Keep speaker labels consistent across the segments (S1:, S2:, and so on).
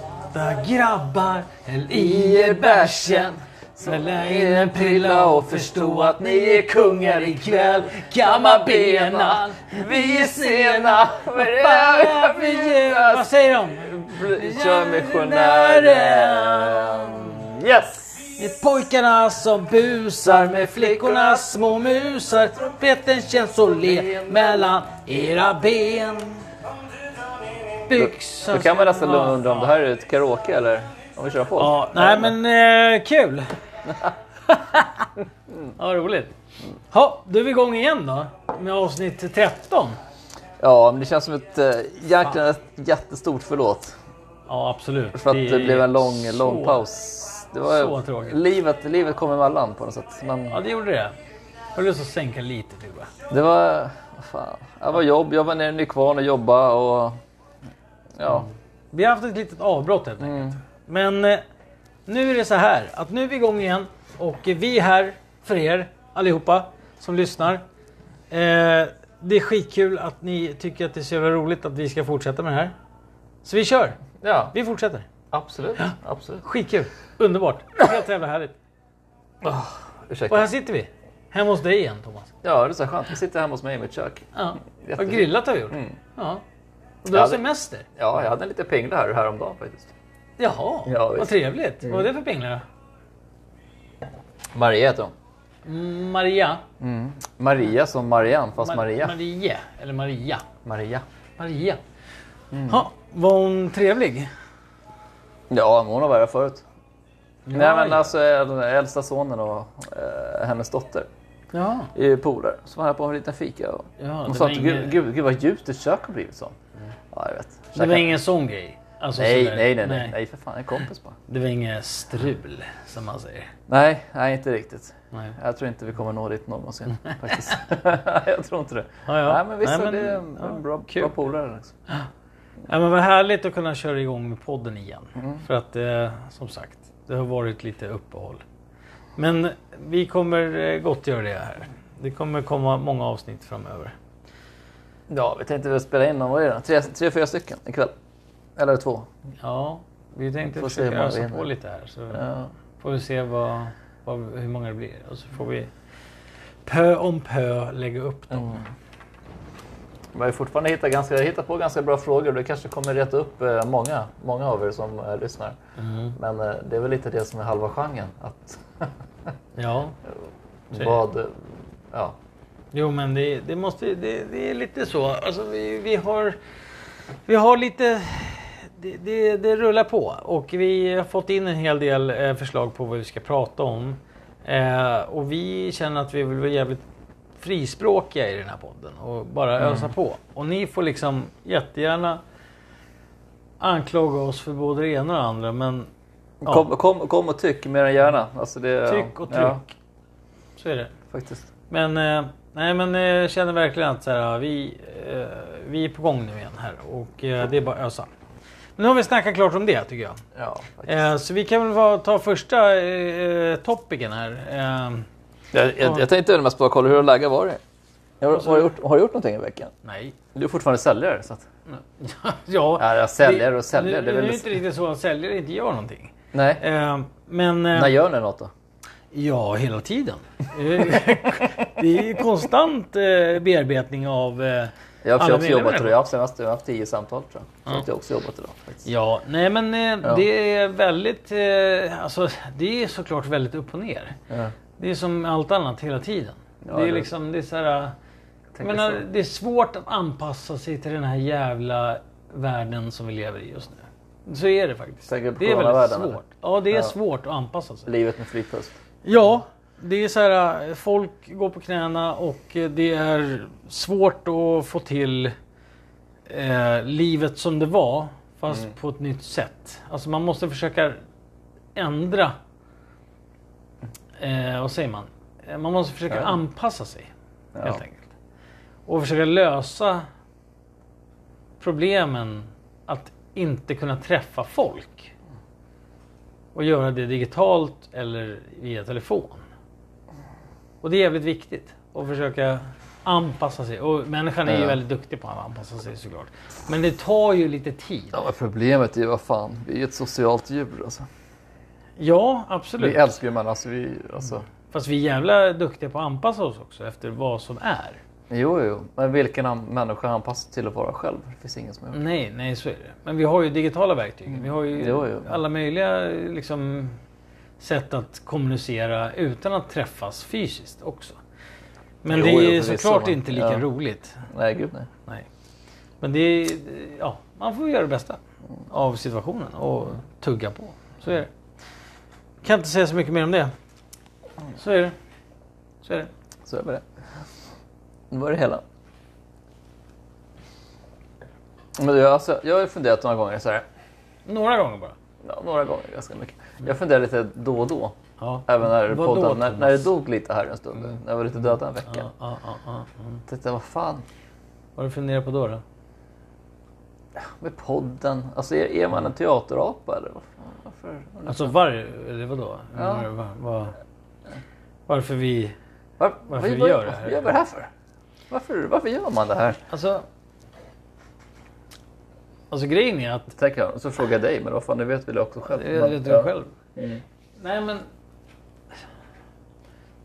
S1: Åtta grabbar, häll i er bärsen. Smälla in en prilla och förstå att ni är kungar ikväll. Kamma benen, vi är sena. Vad fan, vi är- Vad säger de?
S2: Kör missionären. Yes!
S1: Det är pojkarna som busar med flickornas små musar. Trumpeten känns så len mellan era ben. Byxor...
S2: Då kan man nästan
S1: Ja.
S2: undra om det här är ett karaoke eller om vi kör på.
S1: Ja, nej men eh, kul! ja, roligt. Ja, då är vi igång igen då med avsnitt 13.
S2: Ja, men det känns som ett eh, jäkla jättestort förlåt.
S1: Ja, absolut.
S2: För att det,
S1: är
S2: blev en lång,
S1: så-
S2: lång paus. Det var,
S1: så tråkigt.
S2: Livet, livet kom emellan på något sätt. Men
S1: Ja, det gjorde det. Jag har lust att sänka lite nu bara.
S2: det var... vad Fan. Det var jobb. Jag var nere i Nykvarn och jobbade och... Ja. Mm.
S1: Vi har haft ett litet avbrott helt enkelt. Men eh, nu är det så här att nu är vi igång igen och eh, vi är här för er allihopa som lyssnar. Eh, det är skitkul att ni tycker att det är så jävla roligt att vi ska fortsätta med det här. Så vi kör!
S2: Ja,
S1: Vi fortsätter.
S2: absolut. Absolut.
S1: Skitkul! Underbart! Helt jävla härligt. Och
S2: Ursäkta.
S1: här sitter vi. Hemma hos dig igen Thomas.
S2: Ja, det är så skönt. Vi sitter hemma hos mig i mitt kök.
S1: Ja. Vad
S2: Jättefint.
S1: grillat har vi gjort. Ja. Och du
S2: Mm. Ja,
S1: har alltså
S2: det-
S1: semester.
S2: Ja, jag hade en liten pingla här häromdagen faktiskt.
S1: Jaha,
S2: Ja,
S1: vad
S2: visst. Mm.
S1: trevligt. Vad var det för pinglar
S2: Maria heter hon.
S1: då? Mm, Maria.
S2: Maria som Marianne, fast
S1: Ma-
S2: Maria.
S1: Maria. Eller Maria.
S2: Maria.
S1: Maria.
S2: Mm.
S1: Ha, var hon trevlig?
S2: Ja, men hon har varit här förut. Nej, men
S1: ja.
S2: alltså äl- äldsta sonen och eh, hennes dotter
S1: Ja.
S2: är ju polare. Så var här på en liten fika. Och
S1: Ja, det
S2: hon sa
S1: var
S2: att
S1: ingen- Mm.
S2: gud, gud, gud vad djupt ett kök har blivit som. Ja, jag vet.
S1: Det var
S2: Käka-
S1: ingen sån grej? Alltså,
S2: nej,
S1: sådär.
S2: nej, nej, nej, nej, för fan, en kompis bara.
S1: Det var inget strul, som man säger.
S2: Nej, nej, inte riktigt.
S1: Nej.
S2: Jag tror inte vi kommer nå dit någonsin faktiskt. jag tror inte det.
S1: Ja, ja.
S2: Nej, men visst,
S1: Nej,
S2: nej,
S1: men-
S2: det är en en bra,
S1: kul.
S2: bra polare. Liksom.
S1: Ja, men vad härligt att kunna köra igång med podden igen.
S2: Mm.
S1: För att eh, som sagt, det har varit lite uppehåll. Men vi kommer eh, gott göra det här. Det kommer komma många avsnitt framöver.
S2: Ja, vi tänkte väl spela in, vad är det? Tre, tre, fyra stycken ikväll. Eller två.
S1: Ja, vi tänkte
S2: Får se hur
S1: försöka
S2: många vi
S1: ösa
S2: hinner.
S1: på lite här. Så
S2: Ja.
S1: får vi se vad, vad, hur många det blir. Och så får
S2: Mm.
S1: vi pö om pö lägga upp dem.
S2: Men jag har fortfarande hittat, ganska, jag har hittat på ganska bra frågor. Det kanske kommer reta upp eh, många, många av er som eh, lyssnar. Men eh, det är väl lite det som är halva genren. Att
S1: Ja, Typ.
S2: vad... eh, Ja.
S1: jo men det, det, måste, det, det är lite så. Alltså, vi, vi, har, vi har lite... Det, det, det rullar på och vi har fått in en hel del eh, förslag på vad vi ska prata om. Eh, och vi känner att vi vill vara jävligt frispråkiga i den här podden och bara
S2: Mm.
S1: ösa på. Och ni får liksom jättegärna anklaga oss för både det ena och det andra men Ja.
S2: Kom, kom, kom och tyck mer än gärna. Alltså det,
S1: tryck och tryck.
S2: Ja,
S1: Så är det.
S2: faktiskt.
S1: Men, eh, nej, men eh, jag känner verkligen att så här, ja, vi, eh, vi är på gång nu igen här och eh, det är bara att ösa. Men nu har vi snackat klart om det tycker jag.
S2: Ja, faktiskt.
S1: Eh, så vi kan väl va- ta första eh, topicen här. Eh,
S2: Jag, jag, jag tänkte mest bara kolla hur läget var det? Jag, har, har, du gjort, har du gjort någonting i veckan?
S1: nej.
S2: Du är fortfarande säljare. Så att,
S1: ja,
S2: Ja, jag säljer och
S1: Nu,
S2: säljer,
S1: nu
S2: det
S1: är
S2: är väl-
S1: det inte riktigt så att säljare inte gör någonting.
S2: nej.
S1: Eh, men... eh,
S2: När gör ni något då?
S1: Ja, hela tiden. Eh, det är ju konstant eh, bearbetning av eh,
S2: Jag har
S1: alla
S2: också jobbat
S1: medlemmar.
S2: idag. Jag har senast- jag har haft tio samtal tror jag. Så att jag har också jobbat idag. Faktiskt.
S1: Ja, nej men eh, det är väldigt, eh, alltså det är såklart väldigt upp och ner.
S2: Ja.
S1: Det är som allt annat hela tiden. det är
S2: det-
S1: liksom, det är så här, eh, jag
S2: tänker
S1: menar,
S2: så.
S1: det är svårt att anpassa sig till den här jävla världen som vi lever i just nu. Så är det faktiskt.
S2: Tänker du på
S1: det är väldigt
S2: coronavärlden,
S1: svårt.
S2: eller?
S1: Ja, det är svårt att anpassa sig.
S2: Livet med flygpuss.
S1: Ja, det är så här, eh, folk går på knäna och eh, det är svårt att få till eh, livet som det var fast på ett nytt sätt. Alltså man måste försöka ändra, eh, vad säger man? Eh, Man måste försöka anpassa sig helt enkelt. Och försöka lösa problemen att inte kunna träffa folk och göra det digitalt eller via telefon. Och det är jävligt viktigt att försöka anpassa sig. Och människan är ju
S2: Ja.
S1: väldigt duktig på att anpassa sig såklart. Men det tar ju lite tid.
S2: Ja, men problemet är ju, vad fan, vi är ju ett socialt djur alltså.
S1: Ja,
S2: Vi
S1: absolut.
S2: älskar ju människor, alltså, vi, alltså.
S1: Fast vi är jävla duktiga på att anpassa oss också efter vad som är.
S2: Jo, jo, men vilken an- människa anpassar till att vara själv? Det finns ingen som är
S1: Nej, nej så är det. Men vi har ju digitala verktyg. Vi har ju
S2: Mm. Jo, jo.
S1: alla möjliga liksom, sätt att kommunicera utan att träffas fysiskt också. Men
S2: Jo,
S1: det är
S2: jo, förvisso,
S1: såklart
S2: men-
S1: inte lika
S2: ja.
S1: roligt.
S2: Nej, gud nej.
S1: Nej. Men det är, ja, man får göra det bästa av situationen och tugga på. Så är det. Kan inte säga så mycket mer om det. Så är det. Så är det.
S2: Så är det. Det var det hela. Men jag, alltså, jag har ju funderat några gånger så här.
S1: Några gånger bara.
S2: Ja, några gånger ganska mycket. Jag funderar lite då och då.
S1: Ja.
S2: Även när,
S1: Mm. Vadå,
S2: podden, när,
S1: Thomas? Mm.
S2: när det dog lite här en stund. När jag var lite döda en vecka.
S1: Ja, ja, ja, ja. Mm.
S2: Tänkte jag, vad fan
S1: Vad har du funderat på då? då?
S2: med podden? Alltså är, är man en teaterapa eller? vad fan? Varför?
S1: Alltså var, eller vadå?
S2: Ja.
S1: Var, var, var, varför vi...
S2: Var,
S1: Varför
S2: vad-
S1: vi gör det
S2: varför
S1: här?
S2: gör vi det här för? Varför, varför gör man det här?
S1: Alltså... Alltså grejen är att...
S2: Tänker jag. Och Så frågar jag dig, men vad fan, det vet väl jag också själv.
S1: Jag
S2: Men-
S1: vet
S2: ja. Mm.
S1: du själv. Nej men...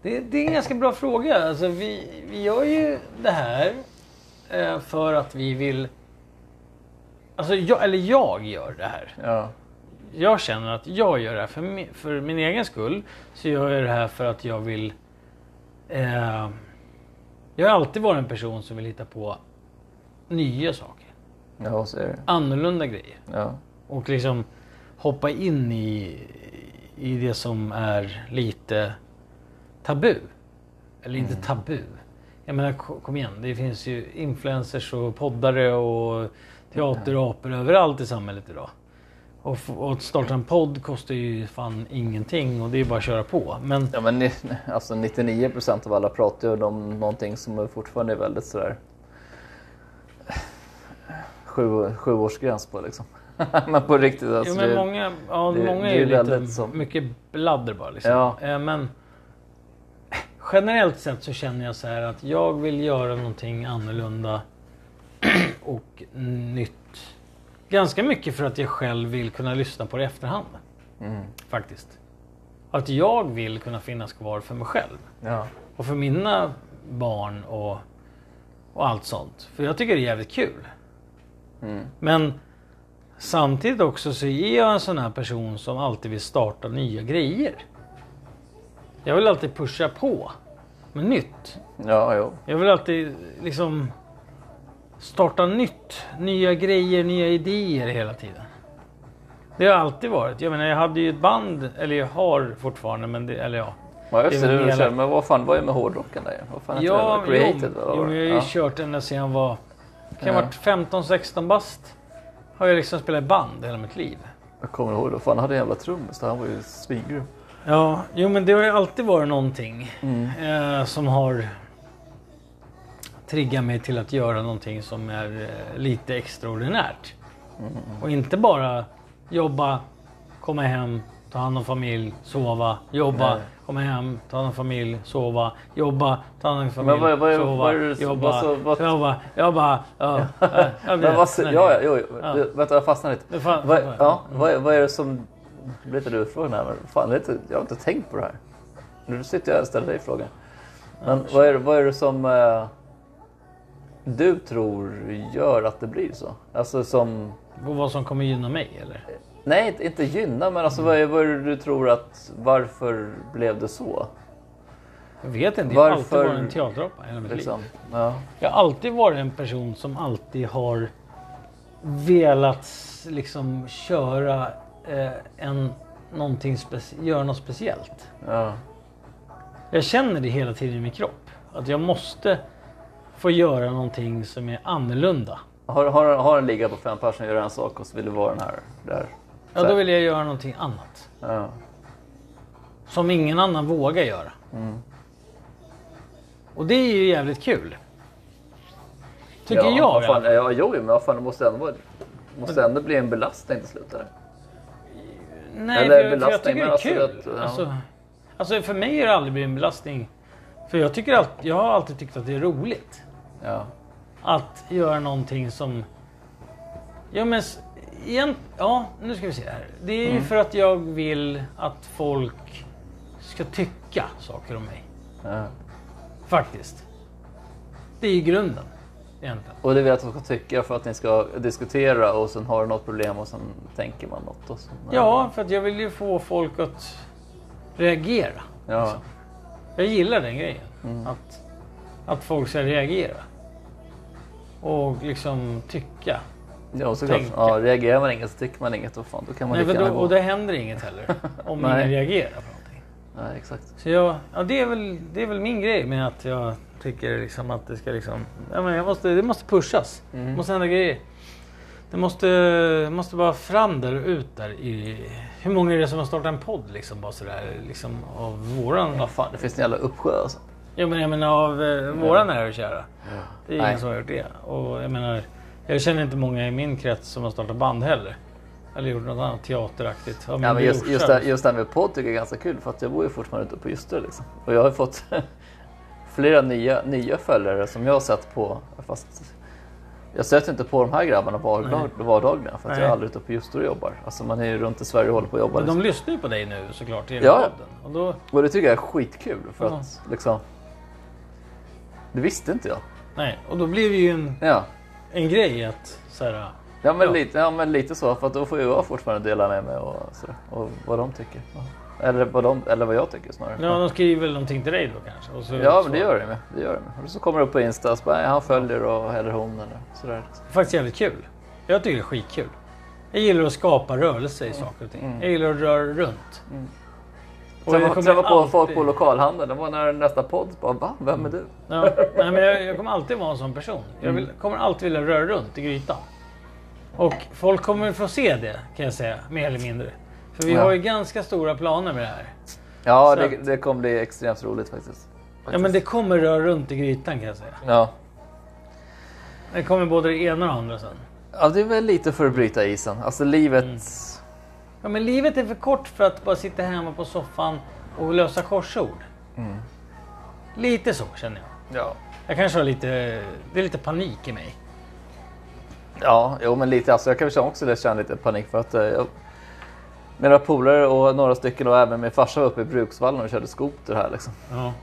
S1: Det, det är en ganska bra fråga. Alltså vi, vi gör ju det här eh, för att vi vill... Alltså jag, eller jag gör det här.
S2: Ja.
S1: jag känner att jag gör det här för min, för min egen skull. Så gör jag det här för att jag vill... Eh, jag har alltid varit en person som vill hitta på nya saker.
S2: ja, så är det.
S1: Annorlunda grejer.
S2: Ja.
S1: Och liksom hoppa in i, i det som är lite tabu. Eller inte
S2: Mm.
S1: tabu. Jag menar, ko- kom igen. Det finns ju influencers och poddare och teaterapor överallt i samhället idag. Och, f- och att starta en podd kostar ju fan ingenting och det är bara att köra på. Men
S2: Ja men ni- alltså 99% av alla pratar ju om någonting som är fortfarande är väldigt sådär sju, sjuårsgräns på liksom. men på riktigt alltså.
S1: jo, men
S2: det-
S1: många, ja,
S2: det-
S1: många
S2: det
S1: är
S2: är
S1: ju lite,
S2: väldigt som-
S1: mycket bladder bara. Liksom.
S2: Ja.
S1: Eh, Men generellt sett så känner jag så här att jag vill göra någonting annorlunda och nytt. Ganska mycket för att jag själv vill kunna lyssna på det i efterhand.
S2: Mm.
S1: Faktiskt. Att jag vill kunna finnas kvar för mig själv.
S2: Ja.
S1: Och för mina barn och, och allt sånt. För jag tycker det är jävligt kul. Men samtidigt också så är jag en sån här person som alltid vill starta nya grejer. Jag vill alltid pusha på med nytt.
S2: Ja, jo.
S1: Jag vill alltid liksom starta nytt. Nya grejer, nya idéer hela tiden. Det har alltid varit. Jag menar jag hade ju ett band, eller jag har fortfarande, men det, eller ja.
S2: Ja, just
S1: Det
S2: det.
S1: är väl
S2: Du
S1: mer-
S2: kör, men vad fan, vad är med hårdrocken där? Vad fan heter
S1: Ja,
S2: det?
S1: jo, jo,
S2: Created?
S1: men
S2: vad
S1: jag
S2: var
S1: har
S2: det?
S1: ju
S2: Ja.
S1: kört ända sedan jag var... Kan jag
S2: Ja.
S1: ha varit 15-16 bast? Har jag liksom spelat i band hela mitt liv.
S2: Jag kommer ihåg då. Fan, han hade en jävla trummis. där. Han var ju svingrym.
S1: Ja, jo men det har ju alltid varit någonting
S2: Mm.
S1: eh, som har triggat mig till att göra någonting som är eh, lite extraordinärt.
S2: Mm.
S1: Och inte bara jobba, komma hem, ta hand om familj, sova, jobba,
S2: Nej.
S1: komma hem, ta hand om familj, sova, jobba, ta hand om familj,
S2: Men vad- vad-
S1: sova,
S2: vad är det-
S1: jobba,
S2: vad så- vad-
S1: jobba, jobba, ja, ja, ja,
S2: Men vad, ja,
S1: nej.
S2: ja, jo, jo.
S1: Ja.
S2: Du, vänta, jag fastnade lite.
S1: Det fan-
S2: vad,
S1: fan-
S2: ja, vad, är- vad är det som... Nu blir lite du frågan här, men fan, det är inte, jag har inte tänkt på det här. Nu sitter jag och ställer dig frågan. Men vad, är, det- vad är det som eh, du tror gör att det blir så? Alltså som...
S1: Och vad som kommer gynna mig eller?
S2: Nej, inte- inte gynna, men
S1: Mm.
S2: alltså vad, är, vad är det du tror att... Varför blev det så?
S1: Jag vet inte, jag har alltid
S2: Varför-
S1: varit en teaterapa hela mitt liv.
S2: Liksom. Ja.
S1: Jag har alltid varit en person som alltid har velat s- liksom köra eh, en, någonting speci- göra något speciellt.
S2: Ja.
S1: Jag känner det hela tiden i min kropp. Att jag måste få göra någonting som är annorlunda.
S2: Har, har, har en liga på fem personer gör en sak och så vill du vara den här. Där.
S1: Ja, då vill jag göra någonting annat.
S2: Ja.
S1: Som ingen annan vågar göra.
S2: Mm.
S1: Och det är ju jävligt kul. Tycker
S2: ja,
S1: jag.
S2: vad
S1: i alla
S2: Fan, ja, jo, men vad fan, det måste ändå, vara- måste ändå bli en belastning till slut. Eller?
S1: Nej, för,
S2: Eller
S1: jag- för jag
S2: belastning,
S1: tycker det
S2: men
S1: är kul.
S2: alltså
S1: Alltså,
S2: att- ja.
S1: alltså, för mig har det aldrig blivit en belastning. För jag, tycker allt, jag har alltid tyckt att det är roligt
S2: Ja.
S1: att göra någonting som... Ja, men... s- Igen, ja, nu ska vi se här. Det är ju
S2: Mm.
S1: för att jag vill att folk ska tycka saker om mig.
S2: ja.
S1: Faktiskt. Det är ju grunden. Egentligen.
S2: Och det vill jag att de ska tycka för att ni ska diskutera och sen har du något problem och sen tänker man något. Och sen,
S1: Ja, för att jag vill ju få folk att reagera.
S2: ja.
S1: Jag gillar den grejen.
S2: Mm.
S1: Att, att folk ska reagera. Och liksom tycka.
S2: Ja, och såklart.
S1: Tänka.
S2: Ja, reagerar man inget så tycker man inget. Och fan, då kan man
S1: Nej,
S2: lika
S1: för
S2: gärna
S1: då,
S2: gå.
S1: och det händer inget heller om
S2: Nej.
S1: ingen reagerar på någonting.
S2: Nej, exakt.
S1: Så jag, ja, det, är väl, det är väl min grej med att jag tycker liksom att det ska liksom... Ja, men jag måste, det måste pushas.
S2: Mm.
S1: Det måste hända grejer. Det måste, måste bara fram där och ut där. I, hur många är det som har startat en podd liksom, bara sådär, liksom, av våran...
S2: Vad fan, det finns en jävla uppsjö alltså.
S1: Ja, men jag menar av eh, våra nära och kära. Det är ingen
S2: Nej.
S1: som har gjort det. Och jag menar, jag känner inte många i min krets som har startat band heller. Eller gjort något annat teateraktigt. Av min
S2: Ja, men just,
S1: brorsa,
S2: just, det,
S1: liksom.
S2: just det här med podd tycker jag är ganska kul för att jag bor ju fortfarande ute på Ystad liksom. Och jag har ju fått flera nya, nya följare som jag har sett på. Fast jag stöter inte på de här grabbarna vardag, vardagligen för att jag
S1: Nej.
S2: är aldrig ute på Ystad och jobbar. Alltså man är ju runt i Sverige och håller på och jobbar.
S1: Men de
S2: Liksom.
S1: lyssnar ju på dig nu såklart i
S2: Ja.
S1: podden. Och då,
S2: Och det tycker jag är skitkul för
S1: Ja.
S2: att liksom... Det visste inte jag.
S1: nej, och då blir det ju en,
S2: Ja.
S1: en grej att så här,
S2: Ja men,
S1: Ja.
S2: Lite, ja men lite så, för att då får ju jag fortfarande dela med mig och, sådär, och vad de tycker. Ja. Eller vad, de, eller vad jag tycker snarare.
S1: ja, de skriver väl någonting till dig då kanske. Och så,
S2: Ja,
S1: så.
S2: men det gör det med. Det gör det med. Och så kommer det upp på Insta och så bara, "Ja, han följer och, eller hon eller sådär.
S1: Det är faktiskt jävligt kul. Jag tycker det är skitkul. Jag gillar att skapa rörelse i saker och ting. Jag gillar att röra runt. Och jag
S2: Mm. Träffa,
S1: kommer
S2: träffa på folk
S1: alltid-
S2: på lokalhandeln. Det var när nästa podd bara, va? Vem är du?
S1: Ja, nej, men jag, jag kommer alltid vara en sån person. Jag
S2: Mm.
S1: vill, kommer alltid vilja röra runt i grytan. Och folk kommer få se det kan jag säga, mer eller mindre. För vi
S2: Ja.
S1: har ju ganska stora planer med det här. Så
S2: Ja, det,
S1: att-
S2: det kommer bli extremt roligt faktiskt.
S1: Ja men det kommer röra runt i grytan kan jag säga.
S2: Ja.
S1: Det kommer både det ena och det andra sen.
S2: ja, Alltså, det är väl lite för att bryta isen. Alltså livet...
S1: Ja men livet är för kort för att bara sitta hemma på soffan och lösa korsord.
S2: Mm.
S1: Lite så känner jag.
S2: Ja.
S1: Jag kanske har lite, det är lite panik i mig.
S2: Ja, jo men lite. Alltså, jag kan väl också känna lite panik för att eh, jag, mina polare och några stycken och även min farsa var uppe i Bruksvallen och körde skoter här liksom.
S1: Ja.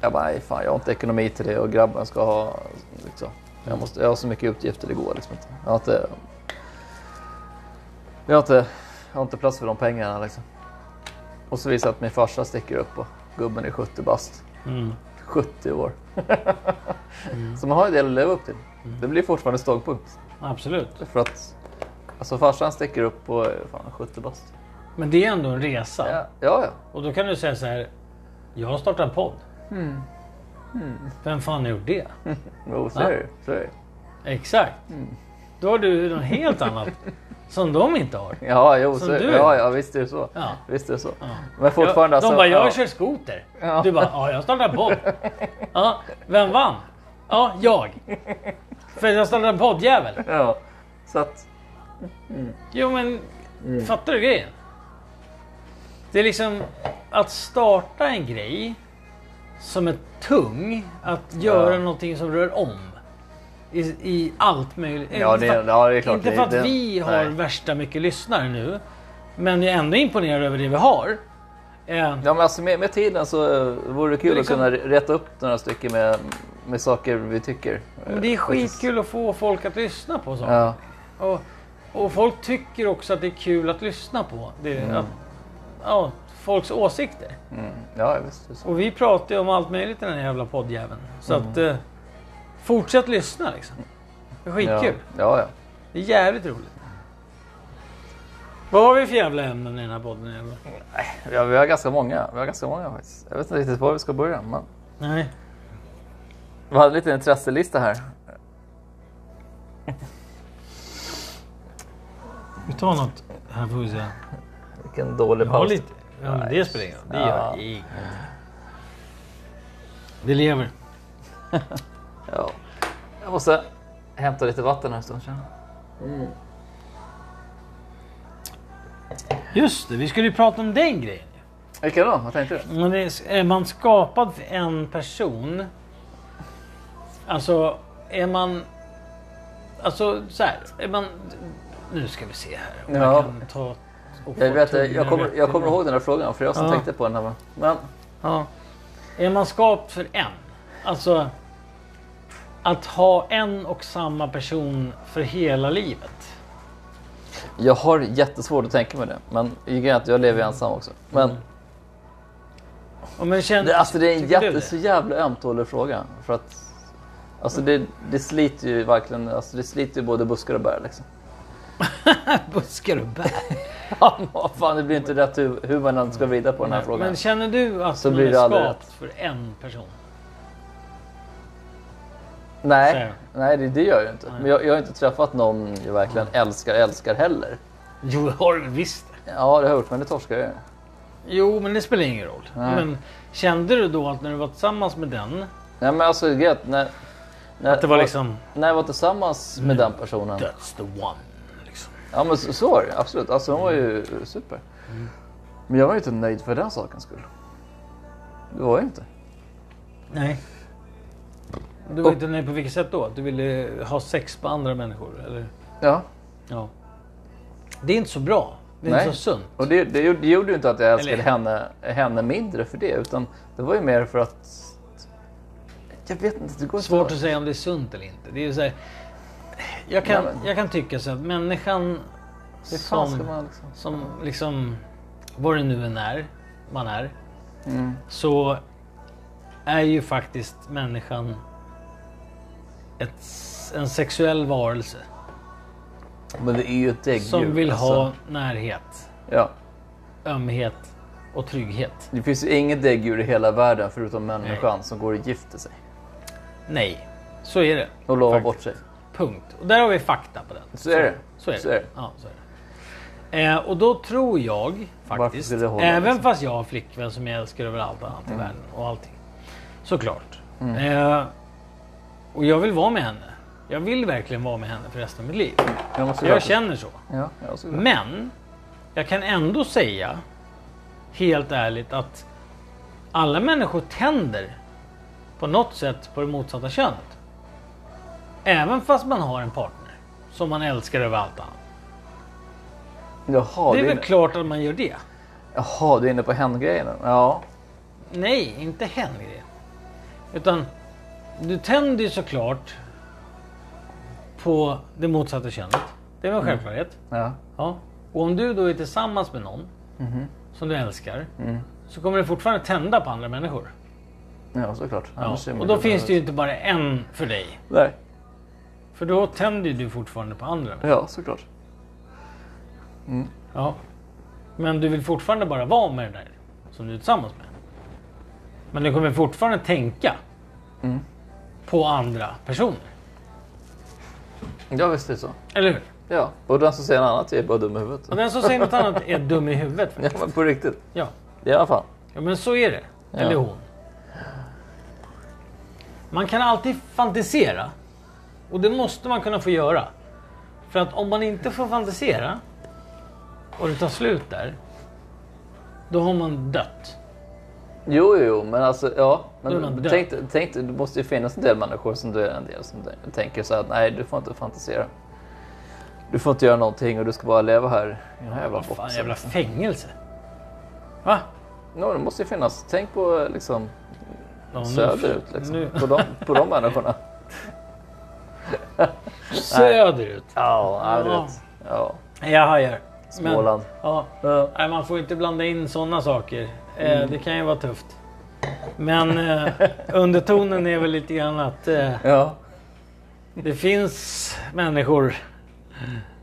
S2: Jag bara, nej fan jag har inte ekonomi till det och grabben ska ha... Liksom. Jag, måste, jag har så mycket utgifter, det går liksom inte. Jag har inte... Jag har inte, jag har inte plats för de pengarna liksom. Och så visar det att min farsa sticker upp och gubben är 70 bast.
S1: Mm.
S2: 70 år. Så man har en del att leva upp till.
S1: Mm.
S2: Det blir fortfarande ståndpunkt.
S1: Absolut.
S2: För att alltså, farsan sticker upp och är fan 70 bast.
S1: Men det är ändå en resa.
S2: Ja, ja. ja.
S1: Och då kan du säga så här. Jag har startat en podd.
S2: Hmm.
S1: Vem fan har gjort det?
S2: Jo, så är det ju. Så är det ju.
S1: Exakt.
S2: Hmm.
S1: Då har du något helt annat som de inte har.
S2: Ja, jo,
S1: Som
S2: så, är det.
S1: du.
S2: ja, ja, visst är det så.
S1: Ja.
S2: Visst är det så. Men
S1: de
S2: fortfarande alltså,
S1: bara, jag
S2: ja.
S1: kör skoter.
S2: Ja.
S1: Du bara, ja jag startar en podd. Ja, vem vann? Ja, jag. För jag startade en poddjävel.
S2: Ja, så att...
S1: Jo men,
S2: Mm.
S1: fattar du grejen? Det är liksom att starta en grej som är tung, att göra
S2: Ja.
S1: någonting som rör om. I, i allt möjligt.
S2: Ja,
S1: Inte
S2: det-
S1: för-
S2: ja, det är klart.
S1: Inte
S2: Det-
S1: för att
S2: det-
S1: vi har
S2: nej.
S1: värsta mycket lyssnare nu. Men jag är ändå imponerad över det vi har. Eh,
S2: Ja, men alltså med, med tiden så eh, vore det kul
S1: Det är liksom-
S2: att kunna rätta upp några stycken med, med saker vi tycker. Eh,
S1: men det är skitkul att få folk att lyssna på saker.
S2: Ja,
S1: Och, och folk tycker också att det är kul att lyssna på. Det,
S2: Mm.
S1: att, ja, folks åsikter.
S2: ja visst. det är så.
S1: Och vi pratar ju om allt möjligt i den här jävla poddjäveln. Så att... Eh, fortsätt lyssna liksom. Det är
S2: Ja,
S1: skitkul.
S2: ja, ja.
S1: Det är jävligt roligt. Vad har vi för jävla ämnen i den här podden egentligen?
S2: ja. Vi har ganska många. Vi har ganska många faktiskt. Jag vet inte riktigt var vi ska börja. Men
S1: Nej.
S2: vi hade en liten intresselista här.
S1: Vi tar något här får vi se.
S2: Vilken dålig
S1: Har
S2: paus.
S1: lite. Ja, men det spelar ingen roll. Det gör
S2: Ja.
S1: ingenting. Det lever.
S2: Ja. Jag måste hämta lite vatten här en stund. känner jag.
S1: Just det, vi skulle ju prata om den grejen. ju.
S2: Vilka då? Vad tänkte du?
S1: Men det är, är man skapad för en person? Alltså, är man... Alltså, så här. Är man... Nu ska vi se här. om
S2: Ja.
S1: kan ta och
S2: Jag,
S1: få
S2: vet, det.
S1: tungan
S2: jag, kommer,
S1: rätt
S2: jag kommer
S1: i mun.
S2: ihåg den här frågan för jag som
S1: Ja.
S2: tänkte på den. Här. Men
S1: Ja. Är man skapt för en? Alltså... Att ha en och samma person för hela livet.
S2: jag har jättesvårt att tänka mig det. Men grejen är att jag lever ju ensam också. Men
S1: Och men känner,
S2: det, alltså, det är en
S1: Mm. tycker du
S2: jätte, så jävla ömtålig fråga. För att alltså, det, det sliter ju verkligen. Alltså, det sliter ju både buskar och bär liksom.
S1: Buskar och bär.
S2: Ja, vad fan, det blir inte rätt hur, hur man än ska vrida på den här frågan.
S1: Men känner du att
S2: Så
S1: man
S2: blir
S1: är
S2: det aldrig
S1: skapt för en person?
S2: Nej,
S1: Säger
S2: nej det, det gör jag ju inte. Men jag, jag har inte träffat någon jag verkligen älskar älskar heller.
S1: Jo, det har du visst.
S2: Ja, det har jag gjort, men det torskar jag ju.
S1: Jo, men det spelar ingen roll.
S2: Nej.
S1: Men kände du då att när du var tillsammans med den,
S2: Nej, men alltså det är gött, när, när,
S1: att det var liksom Mm.
S2: när jag var tillsammans med den personen.
S1: that's the one? Liksom.
S2: Ja, men så, så var det ju, absolut. Alltså hon var ju super. Men jag var ju inte nöjd för den sakens skull. Det var jag inte.
S1: Nej. Du var inte nöjd på vilket sätt då? Att du ville ha sex på andra människor? Eller?
S2: Ja,
S1: Ja. Det är inte så bra. Det är
S2: Nej.
S1: inte så sunt.
S2: och det, det, gjorde- det gjorde ju inte att jag älskade
S1: Eller-
S2: henne, henne mindre för det. Utan det var ju mer för att... Jag vet inte, det går inte
S1: Svårt att säga om det är sunt eller inte. Det är ju så här, jag, kan,
S2: Nej, men-
S1: jag kan tycka så att människan
S2: Hur fan
S1: som-
S2: ska man liksom...
S1: som liksom, vad det nu än är man är,
S2: Mm.
S1: så är ju faktiskt människan ett, en sexuell varelse
S2: Men det är ju ett däggdjur.
S1: som vill ha
S2: alltså.
S1: närhet,
S2: Ja.
S1: ömhet och trygghet.
S2: Det finns ju inget däggdjur i hela världen förutom människan som går och gifter sig.
S1: Nej, så är det.
S2: Och lovar
S1: Faktiskt.
S2: bort sig.
S1: Punkt. Och där har vi fakta på den.
S2: Så är det.
S1: Så är det.
S2: Så är det.
S1: Ja, så är det. Eh, och då tror jag
S2: Varför
S1: faktiskt,
S2: skulle det Mm. hålla,
S1: även
S2: liksom?
S1: fast jag har flickvän som jag älskar över allt annat i världen och allting. Såklart.
S2: Mm.
S1: Eh, och jag vill vara med henne. Jag vill verkligen vara med henne för resten av mitt liv.
S2: Jag, måste
S1: Jag känner så.
S2: Ja, jag såklart.
S1: Men jag kan ändå säga helt ärligt att alla människor tänder på något sätt på det motsatta könet. Även fast man har en partner som man älskar över allt annat.
S2: Jaha,
S1: Det
S2: du
S1: är
S2: är
S1: väl
S2: inne,
S1: klart att man gör det.
S2: jaha, du är inne på hen-grejen. Ja.
S1: Nej, inte hen grejen. Utan du tänder ju såklart på det motsatta könet. Det är väl en självklarhet.
S2: ja.
S1: Ja. Och om du då är tillsammans med någon som du älskar så kommer det fortfarande tända på andra människor.
S2: Ja, såklart.
S1: Ja.
S2: Annars är man
S1: Och då
S2: ju-
S1: finns det ju inte bara en för dig.
S2: Nej.
S1: För då tänder ju du fortfarande på andra.
S2: Ja, såklart.
S1: Ja. Men du vill fortfarande bara vara med den där som du är tillsammans med. Men du kommer fortfarande tänka på andra personer.
S2: Ja, visst är det så.
S1: Eller hur?
S2: Ja. Och den som säger något annat är bara dum i huvudet.
S1: Och den som säger något annat är dum i huvudet.
S2: Ja, men på riktigt.
S1: Ja.
S2: I alla fall.
S1: Ja men så är det. Eller hon. Man kan alltid fantisera. Och det måste man kunna få göra. För att om man inte får fantisera och det tar slut där. Då har man dött.
S2: Jo, jo, jo, men alltså ja.
S1: Då är man
S2: Men
S1: död.
S2: tänk, tänk, det måste ju finnas en del människor som du är en del som t- tänker så att nej, du får inte fantisera. Du får inte göra någonting och du ska bara leva här i den här jävla
S1: Vad fan,
S2: boxen.
S1: jävla fängelse. Va?
S2: No, det måste ju finnas. Tänk på liksom
S1: Ja, nu-
S2: söderut liksom.
S1: nu-
S2: På de, på de människorna.
S1: Söderut.
S2: Ja, ja, du
S1: Ja.
S2: vet. Ja,
S1: Jag hajar. Men-
S2: Småland.
S1: Ja.
S2: Ja.
S1: Nej, man får inte blanda in sådana saker. Eh,
S2: Mm.
S1: Det kan ju vara tufft. Men eh, undertonen är väl lite grann att eh,
S2: Ja.
S1: Det finns människor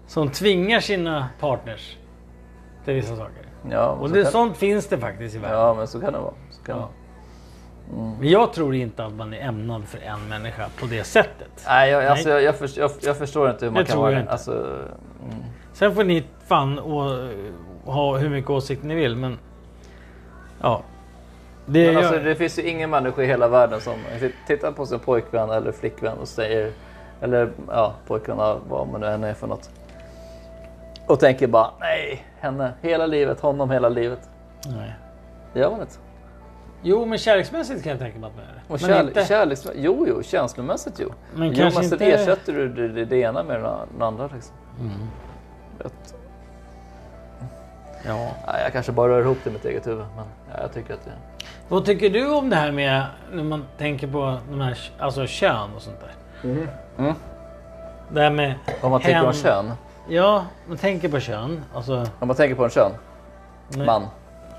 S1: som tvingar sina partners till vissa saker.
S2: Ja, men
S1: Och
S2: så
S1: det,
S2: kan,
S1: sånt finns det faktiskt i världen.
S2: ja, men så kan det vara. Så kan det vara.
S1: Men jag tror inte att man är ämnad för en människa på det sättet.
S2: Nej, jag, alltså, jag, jag, förstår, jag, jag förstår inte hur man
S1: Det
S2: kan
S1: tror
S2: vara
S1: jag
S2: det.
S1: inte.
S2: Alltså,
S1: Sen får ni fan å, ha hur mycket åsikt ni vill men... Ja. Det
S2: men
S1: gör...
S2: alltså, det finns ju ingen människa i hela världen som t- tittar på sin pojkvän eller flickvän och säger, eller ja, pojkvän, ja, vad man nu än är för något. Och tänker bara, nej, henne hela livet, honom hela livet.
S1: Nej.
S2: Det gör man inte.
S1: Jo, men kärleksmässigt kan jag tänka mig att man är det.
S2: Och
S1: Men
S2: kärle-
S1: inte-
S2: kärleks... Jo, jo, känslomässigt jo.
S1: Men
S2: jo,
S1: kanske
S2: men sen
S1: inte- Mm.
S2: ersätter du det, det, det ena med det an- det andra. Liksom. Att,
S1: Ja.
S2: nej, jag kanske bara rör ihop det i mitt eget huvud. Men ja, jag tycker att det...
S1: Vad tycker du om det här med när man tänker på de här, alltså kön och sånt där?
S2: Mm.
S1: Det här med
S2: Om man tänker
S1: hem-
S2: om kön.
S1: Ja, man tänker på kön. Alltså,
S2: Om man tänker på en kön.
S1: nej,
S2: Man.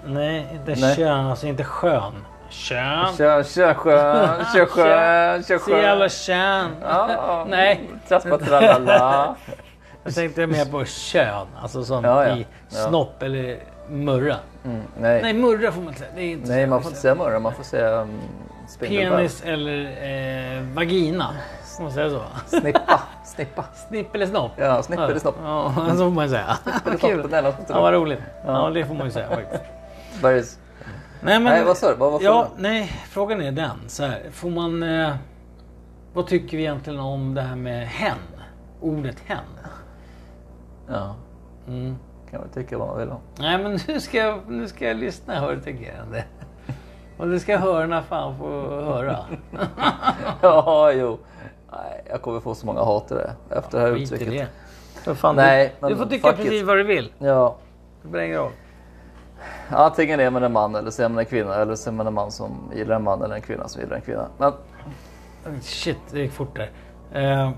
S1: Nej, inte
S2: Nej.
S1: kön. Alltså inte skön. Kön.
S2: Kör, kör skön, kör skön, kör
S1: Så jävla
S2: skön.
S1: kön.
S2: Ja,
S1: Nej.
S2: Traspa tralala.
S1: Jag tänkte mer på kön. Alltså som
S2: Ja, ja.
S1: i
S2: Ja.
S1: snopp eller murra.
S2: Mm,
S1: Nej,
S2: nej.
S1: murra får man inte säga. Det är inte
S2: nej,
S1: så
S2: man får inte
S1: schysst.
S2: säga murra, man får säga um, spindelväv.
S1: Penis eller eh, vagina. Får man säga så?
S2: Snippa, snippa.
S1: Snipp eller snopp?
S2: Ja, snipp eller snopp.
S1: Ja, så får man ju säga. Vad
S2: snopp,
S1: kul.
S2: det är något sånt där.
S1: Ja, vad roligt. Ja, det får man ju säga faktiskt.
S2: Bergs.
S1: Nej, men,
S2: Nej, vad sa du? Vad var
S1: ja,
S2: frågan?
S1: nej, frågan är den. Så här, får man... Eh, vad tycker vi egentligen om det här med hen? Ordet hen?
S2: Ja,
S1: Mm.
S2: kan man tycka vad man vill om.
S1: Nej, men nu ska jag, nu ska jag lyssna hörtänkerande. Och det ska hörna fan få höra.
S2: Ja, jo. Nej, jag kommer få så många hatare efter det här
S1: Skit i
S2: uttrycket.
S1: det. För fan,
S2: Nej,
S1: du, du
S2: men
S1: får tycka
S2: fuck it.
S1: precis vad du vill.
S2: Ja,
S1: Det spelar ingen roll.
S2: antingen är man en man eller så är man en kvinna. Eller så är man en man som gillar en man eller en kvinna som gillar en kvinna. Men,
S1: Shit, det gick fort där. Eh,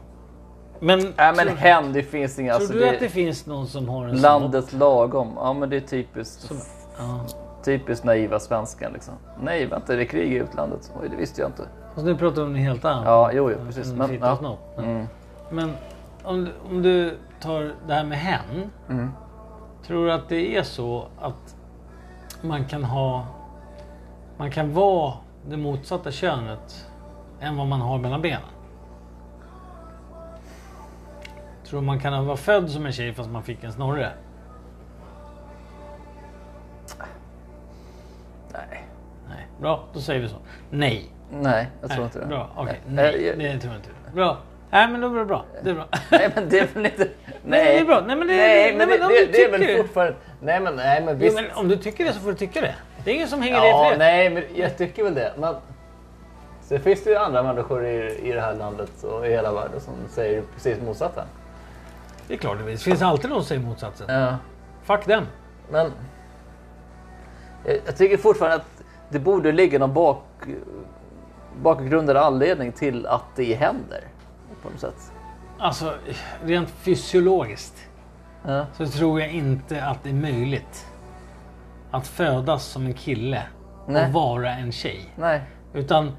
S1: men,
S2: nej, men
S1: tror,
S2: hen, det finns inga... Alltså,
S1: tror du
S2: det,
S1: att det finns någon som har en
S2: landet lagom. Ja, men det är typiskt,
S1: sån? Ja.
S2: typiskt naiva svenskan liksom. Nej, vänta, det är krig i utlandet. Oj, det visste jag inte.
S1: Fast nu pratar vi om något helt annat.
S2: Ja, jo, jo, precis.
S1: En
S2: Men,
S1: fitta
S2: ja.
S1: och snopp.
S2: Mm.
S1: Men om, du- om du tar det här med hen.
S2: Mm.
S1: Tror du att det är så att man kan ha... Man kan vara det motsatta könet än vad man har mellan benen? Tror du man kan vara född som en tjej fast man fick en snorre?
S2: Nej.
S1: Nej. Bra, då säger vi så. Nej.
S2: Nej, jag tror
S1: Nej,
S2: inte det.
S1: Bra, okej.
S2: Nej,
S1: Nej,
S2: jag-
S1: det tror jag inte. Bra. Nej, men då blir det bra. Det är bra.
S2: Nej, men det är väl inte... Nej,
S1: det är bra. Nej, men det- nej,
S2: nej, men
S1: men
S2: det,
S1: om
S2: det,
S1: du
S2: det är
S1: tycker-
S2: väl fortfarande... Nej, men, nej, men
S1: Jo,
S2: visst.
S1: men om du tycker det så får du tycka det. Det är ingen som hänger dig
S3: Ja,
S1: för det.
S3: nej, men jag tycker väl det. Men sen finns det ju andra människor i, i det här landet och i hela världen som säger precis motsatsen.
S1: Det är klart det finns. Det finns alltid någon som säger motsatsen.
S2: Ja.
S1: Fuck den.
S2: Men jag, jag tycker fortfarande att det borde ligga någon bak, bakgrund eller anledning till att det händer. På något sätt.
S1: Alltså, rent fysiologiskt
S2: Ja.
S1: så tror jag inte att det är möjligt att födas som en kille
S2: Nej.
S1: och vara en tjej.
S2: Nej,
S1: Utan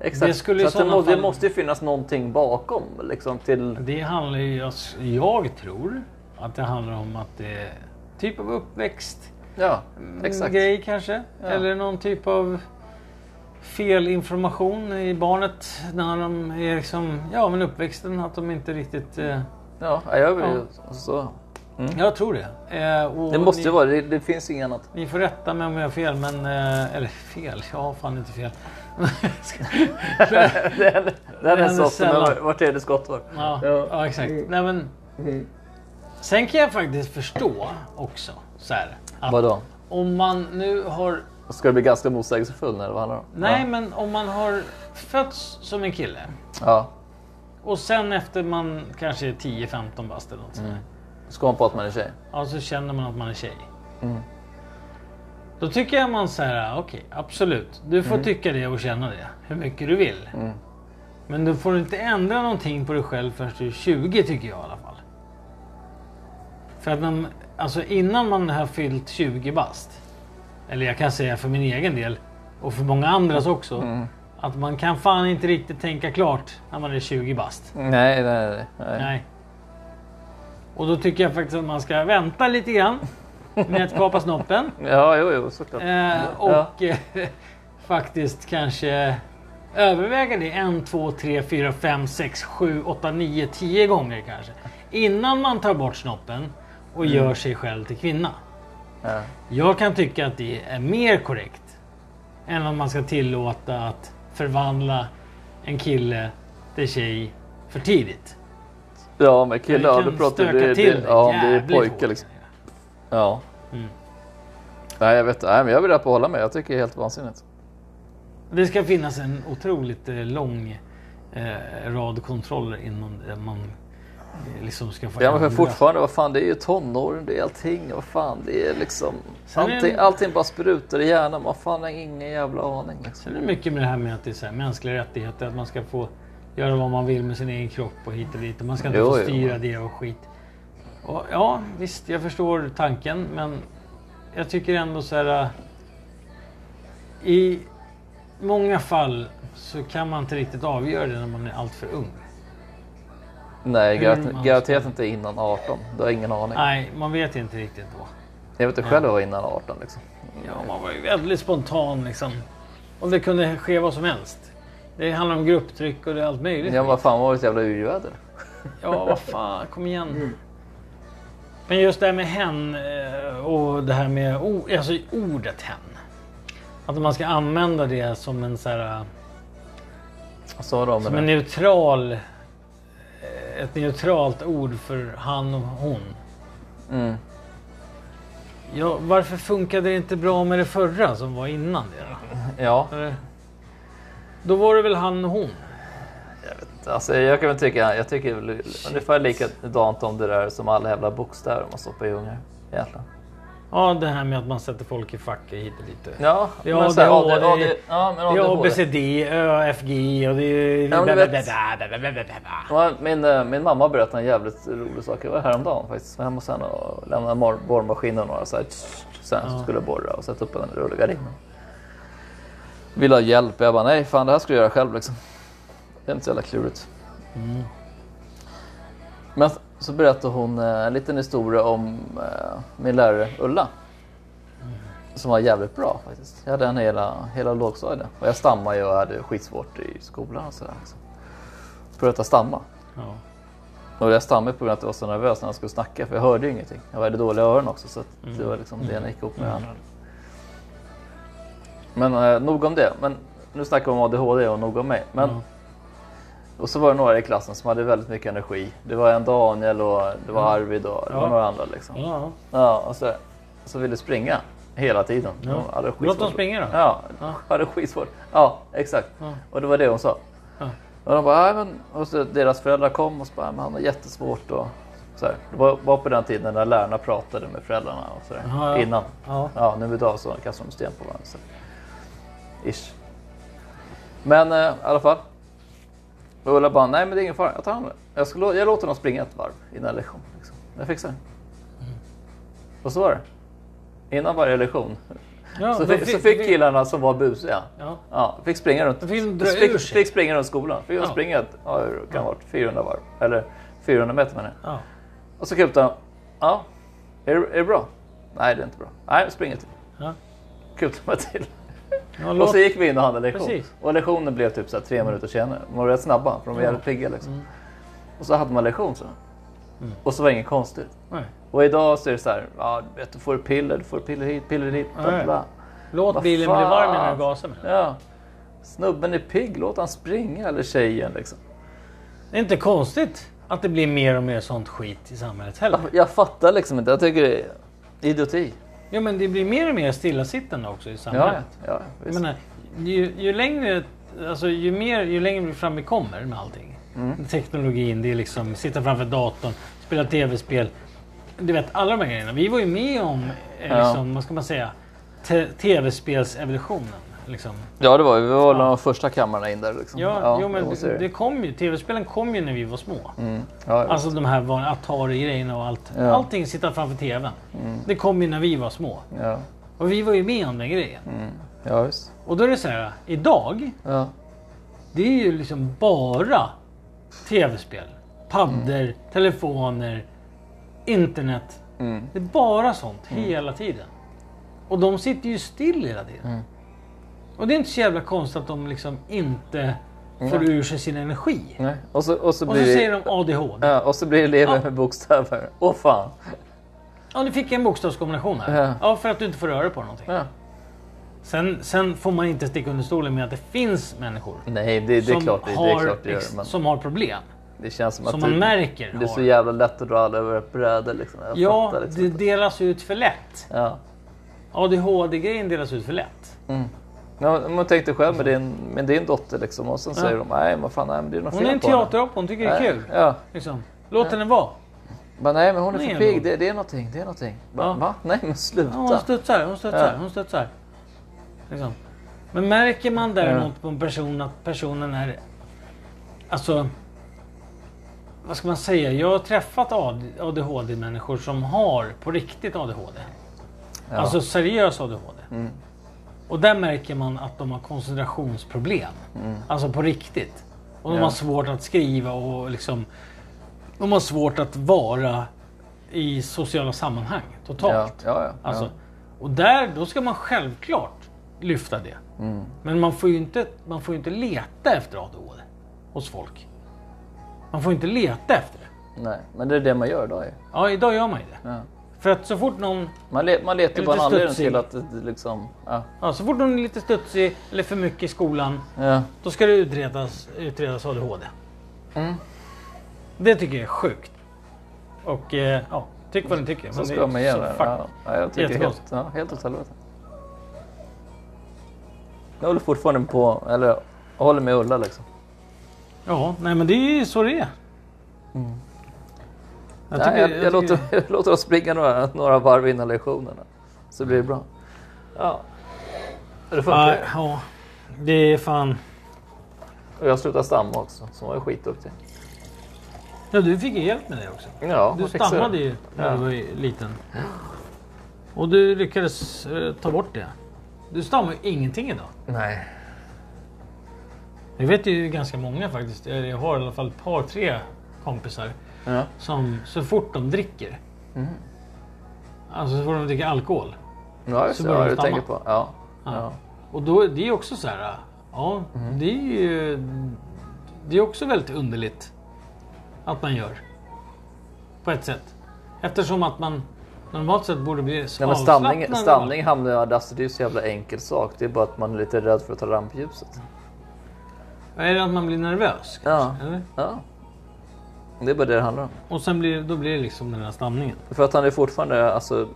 S2: exakt.
S1: Det skulle i
S2: så att det,
S1: sådana
S2: må, det
S1: fall-
S2: måste ju finnas någonting bakom. Liksom, till...
S1: det handlar ju... alltså, Jag tror att det handlar om att det är typ av uppväxt.
S2: Ja, exakt.
S1: Mm. grej kanske. Eller någon typ av felinformation i barnet när de är liksom, ja men uppväxten att de inte riktigt... Eh,
S2: Ja, jag vill ju... Så.
S1: Jag tror det. Eh, och
S2: Det måste
S1: ni,
S2: ju vara det. Det finns ju inget annat.
S1: ni får rätta mig om jag har fel men... Eh, eller fel, jag har fan inte fel.
S2: Det här- det
S1: händer
S2: här är så ofta
S1: sällan.
S2: med var tredje skottår.
S1: ja, ja exakt. Nej, men, Mm. sen kan jag faktiskt förstå också så här, att
S2: Vadå?
S1: om man nu har
S2: Ska du bli ganska motsägelsefull när det handlar om?
S1: Nej, men om man har fötts som en kille
S2: Ja.
S1: och sen efter man kanske är 10-15 bast eller något sånt där,
S2: Ska man på att man är tjej?
S1: ja, så känner man att man är tjej. Då tycker jag man så här, "Ah, okej, absolut. Du får tycka det och känna det hur mycket du vill. Men du får inte ändra någonting på dig själv förrän du är 20 tycker jag i alla fall. För att man, alltså innan man har fyllt 20 bast, eller jag kan säga för min egen del och för många andras också, att man kan fan inte riktigt tänka klart när man är 20 bast.
S2: Nej, nej, nej. nej.
S1: Nej. Och då tycker jag faktiskt att man ska vänta lite grann med att kapa snoppen.
S2: Ja, jo, jo, såklart.
S1: Eh,
S2: Ja.
S1: och eh, faktiskt kanske överväga det en, två, tre, fyra, fem, sex, sju, åtta, nio, tio gånger kanske. Innan man tar bort snoppen och
S2: Mm.
S1: gör sig själv till kvinna.
S2: Ja.
S1: Jag kan tycka att det är mer korrekt än att man ska tillåta att förvandla en kille till tjej för tidigt.
S2: Ja, men killar,
S1: Det
S2: ja,
S1: kan
S2: då pratar
S1: stöka
S2: det, liksom.
S1: till
S2: det, ja, det är
S1: jävligt
S2: pojkar
S1: hårt.
S2: liksom. Ja. Nej, jag vet. Nej, men jag vill uppehålla mig. Jag tycker det är helt vansinnigt.
S1: Det ska finnas en otroligt eh, lång eh, rad kontroller innan eh, man eh, liksom ska få
S2: Ja, men för
S1: ändra.
S2: fortfarande, vad fan, det är ju tonåren, det är allting, vad fan, det är liksom...
S1: Sen är det-
S2: Allting, allting bara sprutar i hjärnan, man fan har ingen jävla aning. Liksom.
S1: Sen är det mycket med det här med att det är så här, mänskliga rättigheter, att man ska få göra vad man vill med sin egen kropp och hit och dit. Och man ska inte
S2: Jo,
S1: få
S2: jo.
S1: styra det och skit. Och, ja, visst, jag förstår tanken, men jag tycker ändå så här... äh, I många fall så kan man inte riktigt avgöra det när man är alltför ung.
S2: Nej,
S1: Hur Ah.
S2: garat-
S1: man
S2: garanterat inte innan 18, du har ingen aning.
S1: Nej, man vet inte riktigt då.
S2: Jag vet inte själv vad jag var innan 18 liksom.
S1: Ah. Ja, man var ju väldigt spontan liksom. Och det kunde ske vad som helst. Det handlar om grupptryck och det är allt möjligt.
S2: Ja, vad fan var det ett jävla urväder?
S1: Ja, vad fan, kom igen. Men just det här med hen eh, och det här med o- alltså ordet hen. Att man ska använda det som en, så här, eh,
S2: Så då med
S1: som en
S2: det.
S1: neutral, eh, ett neutralt ord för han och hon.
S2: Mm.
S1: Ja, varför funkade det inte bra med det förra som var innan det?
S2: Ja,
S1: Då, Eller- Eh, då var det väl han och hon?
S2: alltså jag kan väl tycka, jag tycker väl ungefär likadant om det där som alla jävla bokstäver man stoppar i ungar. Egentligen.
S1: Ja, det här med att man sätter folk i fack hit och dit.
S2: Ja,
S1: Ja,
S2: men så här,
S1: det-
S2: AD,
S1: ja, det-
S2: AD, ja, men
S1: Det är
S2: ADHD.
S1: ABCD, ÖFG och det är...
S2: Ja, men du vet-
S1: Blablabla.
S2: Ja, Min, eh, min mamma berättade en jävligt rolig sak. Jag var häromdagen faktiskt. Jag var hemma hos henne och lämnade mor- borrmaskinen och några så här, tsch, sen
S1: Ja.
S2: skulle jag borra och sätta upp en rullgardin. Vill ha hjälp. Jag bara, nej fan det här ska jag göra själv liksom. Det är inte så jävla klurigt. Men så berättade hon eh, en liten historia om eh, min lärare Ulla. Som var jävligt bra faktiskt. Jag hade henne hela, hela lågstadiet. Och jag stammade ju och hade skitsvårt i skolan och sådär. Liksom. För att stamma.
S1: Ja.
S2: Och jag stammade på grund av att jag var så nervös när jag skulle snacka för jag hörde ju ingenting. Jag hade dåliga öron också så att det var liksom det ena gick ihop med
S1: Mm.
S2: det andra. Men eh, nog om det. Men nu snackar vi om ADHD och nog om mig. Men,
S1: Ja.
S2: Och så var det några i klassen som hade väldigt mycket energi. Det var en Daniel och det var Arvid och det var
S1: Ja.
S2: några andra. Liksom.
S1: Ja.
S2: Ja, och så, så ville springa hela tiden.
S1: Ja.
S2: De hade
S1: Låt
S2: skitsvårt.
S1: dem springa då.
S2: Ja,
S1: Ja.
S2: hade skitsvårt. Ja, exakt.
S1: Ja.
S2: Och det var det hon sa.
S1: Ja.
S2: Och, de bara, "Nej, men... och så deras föräldrar kom och så bara, "Nej, men han har jättesvårt. Och... Så här. Det var, var på den tiden när lärarna pratade med föräldrarna och så där.
S1: Jaha, ja.
S2: innan.
S1: Ja.
S2: Ja, nu idag så kastar de sten på varandra. Så. Ish. Men eh, i alla fall. Och Ulla bara, nej men det är ingen fara, jag tar hand om det. Jag, skulle, jag låter dem springa ett varv innan lektion. Liksom. Jag fixar det.
S1: Mm.
S2: Och så var det. Innan varje lektion.
S1: Ja,
S2: så,
S1: då
S2: fick, så fick killarna som var busiga,
S1: Ja.
S2: ja, fick springa runt,
S1: fick de dra ur
S2: fick,
S1: sig.
S2: fick springa runt skolan. Fick de
S1: Ja.
S2: springa ett, ja, det kan ha varit 400 varv. Eller 400 meter menar jag.
S1: Ja.
S2: Och så kutade han. Ja, är det, är det bra? Nej, det är inte bra. Nej, spring inte.
S1: Ja.
S2: Kutade mig till.
S1: Ja,
S2: Och
S1: låt,
S2: så gick vi in och hade en lektion.
S1: Precis. Mm.
S2: Och lektionen blev typ så här tre minuter senare. De var rätt snabba, för de var jävligt pigga liksom. Och så hade man lektion så.
S1: Mm.
S2: Och så var det inget konstigt.
S1: nej.
S2: Och idag så är det så här, ja, du vet, du får piller, du får piller hit, piller dit. Bla, bla,
S1: Nej.
S2: bla.
S1: låt
S2: Vad
S1: bilen bli
S2: fan.
S1: varm innan du gasar med den.
S2: Ja. Snubben är pigg, låt han springa, eller tjejen liksom.
S1: Det är inte konstigt att det blir mer och mer sånt skit i samhället heller.
S2: Jag, jag fattar liksom inte, jag tycker det är idioti.
S1: Ja, men det blir mer och mer stillasittande också i
S2: Ja,
S1: samhället.
S2: ja, ja,
S1: Jag
S2: visst.
S1: menar, ju, ju längre, alltså ju mer, ju längre fram vi kommer med allting.
S2: Mm.
S1: Teknologin, det är liksom sitta framför datorn, spela tv-spel. Du vet, alla de här grejerna. Vi var ju med om, eh,
S2: Ja.
S1: liksom, vad ska man säga, te- tv-spelsevolutionen. Liksom.
S2: Ja det var vi. Vi var väl de första kamrarna in där liksom.
S1: Ja, jo, men
S2: måste
S1: det,
S2: jag ju.
S1: det kom ju, tv-spelen kom ju när vi var små.
S2: Mm. Ja, ja.
S1: Alltså de här van- Atari-grejerna och allt.
S2: Ja. Mm.
S1: Allting sitta framför tvn. Det kom ju när vi var små.
S2: ja.
S1: Och vi var ju med om den grejen.
S2: Mm. ja visst.
S1: Och då är det så här, idag
S2: Ja.
S1: Det är ju liksom bara tv-spel, paddor, telefoner, internet.
S2: Mm.
S1: Det är bara sånt hela tiden. Och de sitter ju still hela tiden.
S2: Mm.
S1: Och det är inte så jävla konstigt att de liksom inte får ur sig sin energi.
S2: Nej. Och så, och så
S1: Och så
S2: blir
S1: säger
S2: Mm. det...
S1: de ADHD.
S2: Ja, och så blir det elever
S1: Ja.
S2: med bokstäver. Åh fan!
S1: Ja, nu fick jag en bokstavskombination
S2: Ja.
S1: här. Ja, för att du inte får röra på någonting.
S2: Ja.
S1: Sen, sen får man inte sticka under stolen med att det finns människor
S2: Nej, det, det är
S1: som
S2: klart det, det, är
S1: har
S2: klart det gör.
S1: ex-
S2: Men
S1: som har problem.
S2: det känns som att
S1: Som
S2: du,
S1: man märker
S2: det är så
S1: har.
S2: jävla lätt att dra alla över ett bräde liksom. Jag
S1: Ja,
S2: fattar liksom.
S1: det
S2: inte.
S1: delas ut för lätt.
S2: Ja.
S1: ADHD-grejen delas ut för lätt.
S2: Ja, men tänk dig själv med din, med din dotter liksom och sen säger de nej, vad fan, nej, men det är något
S1: Hon
S2: fel
S1: är en
S2: på henne."
S1: teaterapa, hon tycker det är
S2: Nej,
S1: kul.
S2: Ja.
S1: Liksom. Låt henne vara.
S2: Bara, nej, men hon är
S1: Nej,
S2: för
S1: men-
S2: pigg. Det, det är någonting. Det är någonting. Bara,
S1: Ja.
S2: Va? Nej, men sluta.
S1: Ja, alltså, hon studsar, hon studsar,
S2: Ja.
S1: hon studsar. Liksom. Men märker man däremot på en person att personen är... Alltså... Vad ska man säga? Jag har träffat ADHD-människor som har på riktigt ADHD. Alltså seriös ADHD.
S2: Mm.
S1: Och där märker man att de har koncentrationsproblem.
S2: Mm.
S1: Alltså på riktigt. Och de har svårt att skriva och liksom... De har svårt att vara i sociala sammanhang totalt.
S2: ja, ja, ja,
S1: Alltså, Och där, då ska man självklart lyfta det.
S2: Mm.
S1: Men man får ju inte, man får ju inte leta efter ADHD hos folk. Man får inte leta efter det.
S2: Nej, men det är det man gör idag ju.
S1: Ja, idag gör man ju det.
S2: Ja.
S1: För att så fort någon,
S2: Man, le, man letar
S1: Lite
S2: ju bara en anledning
S1: studsig.
S2: till att det det liksom... Ja.
S1: ja, så fort någon är lite studsig eller för mycket i skolan,
S2: Ja.
S1: då ska det utredas, utredas ADHD.
S2: Mm.
S1: Det tycker jag är sjukt. Och eh, ja, tyck vad ni tycker.
S2: Så
S1: men det
S2: ska
S1: är
S2: man
S1: så
S2: göra.
S1: fuck-
S2: Ja, ja, jag tycker helt,
S1: Jättekonstigt.
S2: ja, helt åt helvete. Jag håller fortfarande på, eller jag håller med Ulla liksom.
S1: Ja, nej men det är ju så det är. Jag,
S2: Mm. Nej, jag, jag,
S1: tycker-
S2: låter, jag låter oss springa några, några varv innan lektionerna. Så blir det bra.
S3: Ja. Det funkar
S1: Nej,
S3: ju.
S1: ja. Det är fan...
S3: Och jag slutade stamma också, så hon var skitduktig.
S1: Ja, du fick ju hjälp med det också.
S3: Ja,
S1: Du
S3: hon fixade
S1: stammade
S3: det.
S1: ju när
S3: Ja.
S1: du var ju liten. Och du lyckades eh, ta bort det. Du stammar ju ingenting idag.
S3: Nej.
S1: Jag vet ju ganska många faktiskt. Eller Jag har i alla fall ett par, tre kompisar
S3: Ja.
S1: som så fort de dricker.
S2: Mm.
S1: Alltså så fort de dricker alkohol.
S2: Ja, just
S1: Så
S2: det.
S1: börjar
S2: Ja,
S1: de
S2: du
S1: stamma.
S2: tänker på. Ja.
S1: Ja. Och då, det är ju också så här. Ja,
S2: Mm.
S1: det är ju... Det är också väldigt underligt att man gör. På ett sätt. Eftersom att man normalt sett borde bli så
S2: Nej, men stamning,
S1: avslappnad.
S2: stamning hamnar ju... Alltså det är ju så jävla enkel sak. Det är bara att man är lite rädd för att ta rampljuset.
S1: Är det att man blir nervös?
S2: Ja.
S1: kanske, Eller?
S2: ja. Det är bara det det handlar om.
S1: Och sen blir, då blir det liksom den här stamningen.
S2: För att han är fortfarande, alltså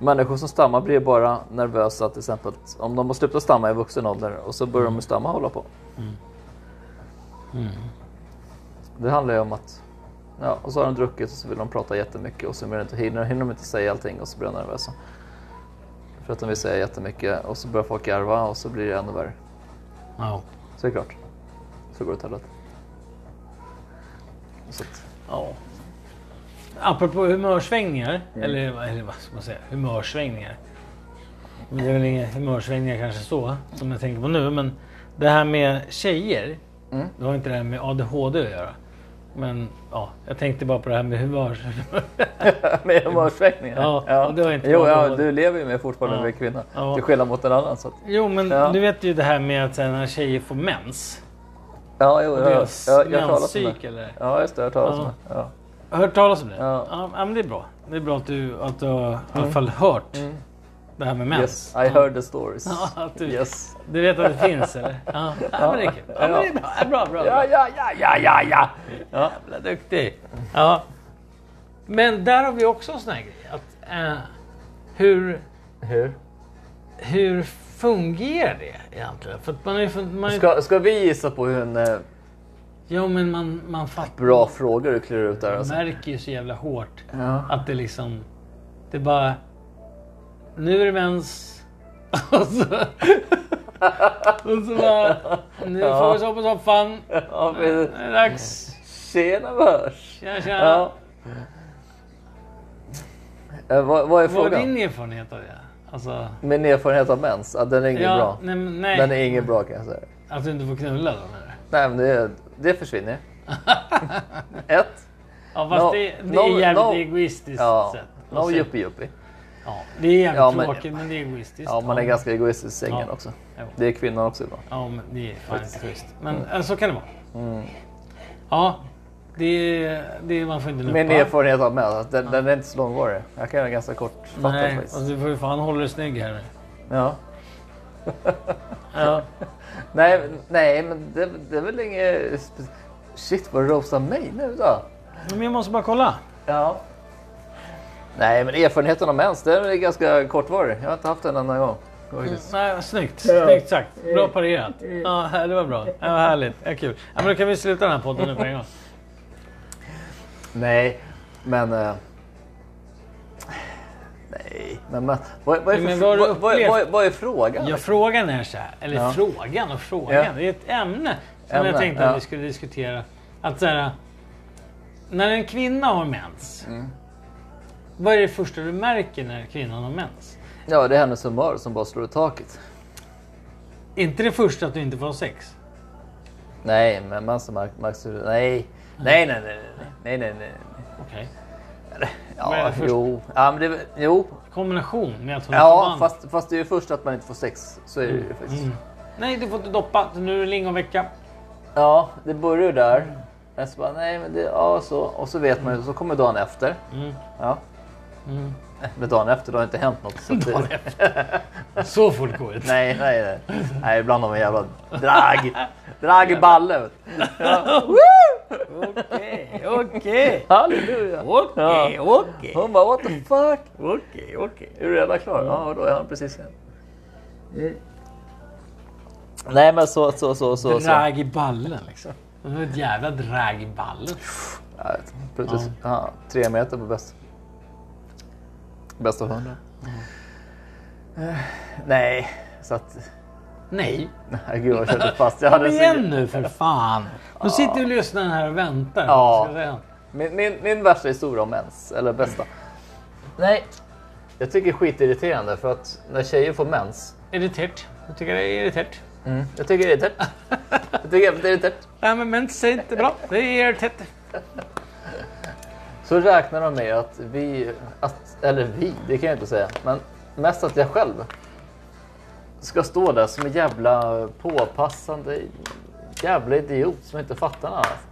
S2: Människor som stammar blir bara nervösa till exempel om de har slutat stamma i vuxen ålder och så börjar de stamma och hålla på. Det handlar ju om att, ja, och så har de druckit och så vill de prata jättemycket och så blir det inte, hinner, hinner de inte säga allting och så blir de nervösa. För att de vill säga jättemycket och så börjar folk garva och så blir det ännu värre.
S1: Ja.
S2: Så är det klart. Så går det åt helvete. Så att,
S1: ja. Apropå humörsvängningar.
S2: Mm.
S1: Eller, vad- eller vad ska man säga? Humörsvängningar. Men det är väl inga humörsvängningar kanske så. Som jag tänker på nu. Men det här med tjejer.
S2: Mm.
S1: Det har inte det här med ADHD att göra. Men ja, jag tänkte bara på det här med humörs...
S2: med humörsvängningar?
S1: Ja, och det var inte
S2: jo,
S1: bra.
S2: ja, du lever ju med fortfarande
S1: Ja.
S2: med kvinna.
S1: Ja.
S2: Till skillnad mot en annan. Så att,
S1: jo men
S2: Ja.
S1: du vet ju det här med att så här, när tjejer får mens.
S2: ja, jo, ja,
S1: Deras
S2: ja, jag har talat om
S1: menspsyk
S2: det.
S1: eller?
S2: Ja, just det. Jag har talat om
S1: Ja.
S2: det. Ja.
S1: Har du hört talas om det?
S2: Ja. Mm.
S1: ja men det är bra. Det är bra att du, att du har i alla fall hört det här med mens.
S2: Yes, I heard the stories.
S1: Ja, att du-
S2: Yes.
S1: Du vet att det finns eller? Ja, ja men det är kul. Ja, men det är bra. Ja, bra, bra.
S2: Ja,
S1: bra.
S2: ja, ja, ja, ja, ja. ja.
S1: Jävla duktig. Ja. Men där har vi också en sån här grej. Att, eh, hur,
S3: Hur?
S1: hur fungerar det egentligen? För att man är ju... Man är,
S2: Ska, ska vi gissa på hur en eh,
S1: Jo men man, man fattar.
S2: bra fråga du klurar ut där?
S1: Man
S2: Alltså.
S1: märker ju så jävla hårt
S2: Ja.
S1: att det liksom... Det bara... Nu är det mens. Och så, och så bara... Nu får vi sova på soffan.
S2: Ja, men,
S1: Nu är det dags.
S2: tjena börs!
S1: Tja, tja.
S2: Ja. Eh, vad, vad är
S1: Vad är
S2: frågan?
S1: din erfarenhet av det? Alltså,
S2: Min erfarenhet av mens? Ja, den är ingen bra.
S1: Nej, men nej.
S2: Den är ingen bra kan jag säga.
S1: Att du inte får knulla då menar du?
S2: Nej, men det, det försvinner. Ett.
S1: Ja fast
S2: No,
S1: det, det är
S2: no,
S1: jävligt
S2: no.
S1: egoistiskt
S2: Ja.
S1: sätt. att
S2: No
S1: se.
S2: yuppie yuppie.
S1: ja, det är jävligt
S2: Ja, men-
S1: tråkigt men det är egoistiskt.
S2: Ja, man är ganska egoistisk i sängen
S1: Ja.
S2: också.
S1: Jo.
S2: Det är kvinnor också ibland.
S1: Ja men det är fan inte schysst. Men
S2: Mm.
S1: eh, så kan det vara. Ja, det, det man får inte luppa.
S2: Min erfarenhet av mens, att den, den är inte så långvarig. Jag kan göra ganska kortfattat
S1: Nej,
S2: faktiskt.
S1: alltså, du får ju fan hålla dig snygg här nu.
S2: Ja.
S1: Ja.
S2: Nej, men- nej, men det, det är väl inget... spe- Shit vad du roastar mig nu då.
S1: Men jag måste bara kolla.
S2: Ja. Nej, men erfarenheten av mens, den är ganska kortvarig. Jag har inte haft den en enda gång.
S1: Mm.
S2: faktiskt.
S1: Nej, snyggt, snyggt sagt. Bra parerat. Ja, det var bra. Det var härligt. Ja, kul. Ja, men då kan vi sluta den här podden nu på en gång.
S2: Nej, men... eh, Nej, men, men vad, vad, är
S1: Ja,
S2: för,
S1: men vad har du
S2: vad, vad,
S1: upplevt?
S2: vad, vad är frågan?
S1: Ja, frågan är så här. Eller
S2: Ja.
S1: frågan och frågan.
S2: Ja.
S1: Det är ett ämne som jag
S2: Ämne,
S1: tänkte
S2: ja.
S1: att vi skulle diskutera. Att så här, när en kvinna har mens.
S2: Mm.
S1: Vad är det första du märker när kvinnan har mens?
S2: Ja, det är hennes humör som bara slår i taket.
S1: Inte det första att du inte får ha sex.
S2: Nej, men man som märks... märks ju- Nej. Nej, nej, nej, nej, nej, nej, nej.
S1: Okej. Vad är
S2: Ja,
S1: det först?
S2: jo. Ja, men det, är väl- jo.
S1: Kombination med att hon är
S2: Ja,
S1: förbannad.
S2: fast, fast det är ju först att man inte får sex. Så är det
S1: Mm.
S2: ju faktiskt.
S1: Nej, du får inte doppa. Nu är det lingonvecka.
S2: Ja, det börjar ju där. Jag så bara, nej men det, ja så. Och så vet man ju, så kommer dagen efter.
S1: Mm.
S2: Ja.
S1: Mm.
S2: Men dagen efter, då har inte hänt något. Så att det,
S1: Så får det gå ut.
S2: nej, nej, nej. Nej, ibland har man jävla drag. Drag i balle. vet du.
S1: Okej, okej.
S2: Halleluja.
S1: Okej, okej.
S2: Hon bara, what the fuck?
S1: Okej, okej.
S2: Är du redan klar? Ja, då är han precis hem.
S1: Mm.
S2: Nej men så, så, så, så. så.
S1: Drag i ballen liksom. Det var ett jävla drag i ballen.
S2: Jag vet inte. Precis. Ja, tre meter på bäst. Bäst av hundra.
S1: Mm.
S2: Eh, Nej, så att...
S1: Nej,
S2: Nej, gud vad jag körde fast. Jag hade
S1: kom
S2: så-
S1: igen nu för fan. Nu sitter du och lyssnar här och väntar.
S2: Ja.
S1: Ska jag säga.
S2: Min, min, min värsta historia om mens, eller bästa. Nej. Jag tycker det är skitirriterande för att när tjejer får mens.
S1: Är det tärt? Jag tycker det är irriterat.
S2: Jag tycker det är tätt. Jag tycker det är jävligt tätt.
S1: Nej men mens är inte bra. Det är irriterat.
S2: Så räknar de med att vi, att, eller vi, det kan jag inte säga, men mest att jag själv ska stå där som en jävla påpassande jävla idiot som inte fattar något annat.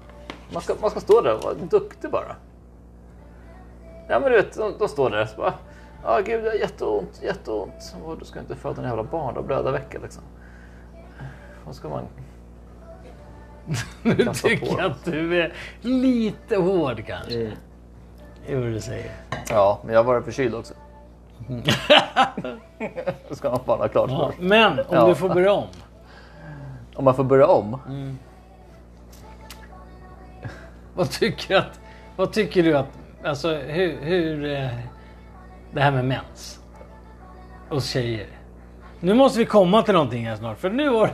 S2: Man ska, man ska stå där och vara duktig bara. Ja men du vet, de, de står där och så bara Ja gud, jag har jätteont, jätteont. Och du ska inte föda en jävla barn, då blöda veckor liksom. Och så ska man...
S1: Nu
S2: Kasta på
S1: tycker jag
S2: dem.
S1: att du är lite hård kanske.
S2: Mm.
S1: Det är vad du säger.
S2: Ja, men jag var förkyld också. Då ska man bara ha klart för
S1: Ja,
S2: sig.
S1: men om
S2: Ja.
S1: du får börja om.
S2: Om man får börja om?
S1: Mm. Vad tycker, du att, vad tycker du att... Alltså hur... hur eh, det här med mens. Och tjejer. Nu måste vi komma till någonting här snart. För nu har,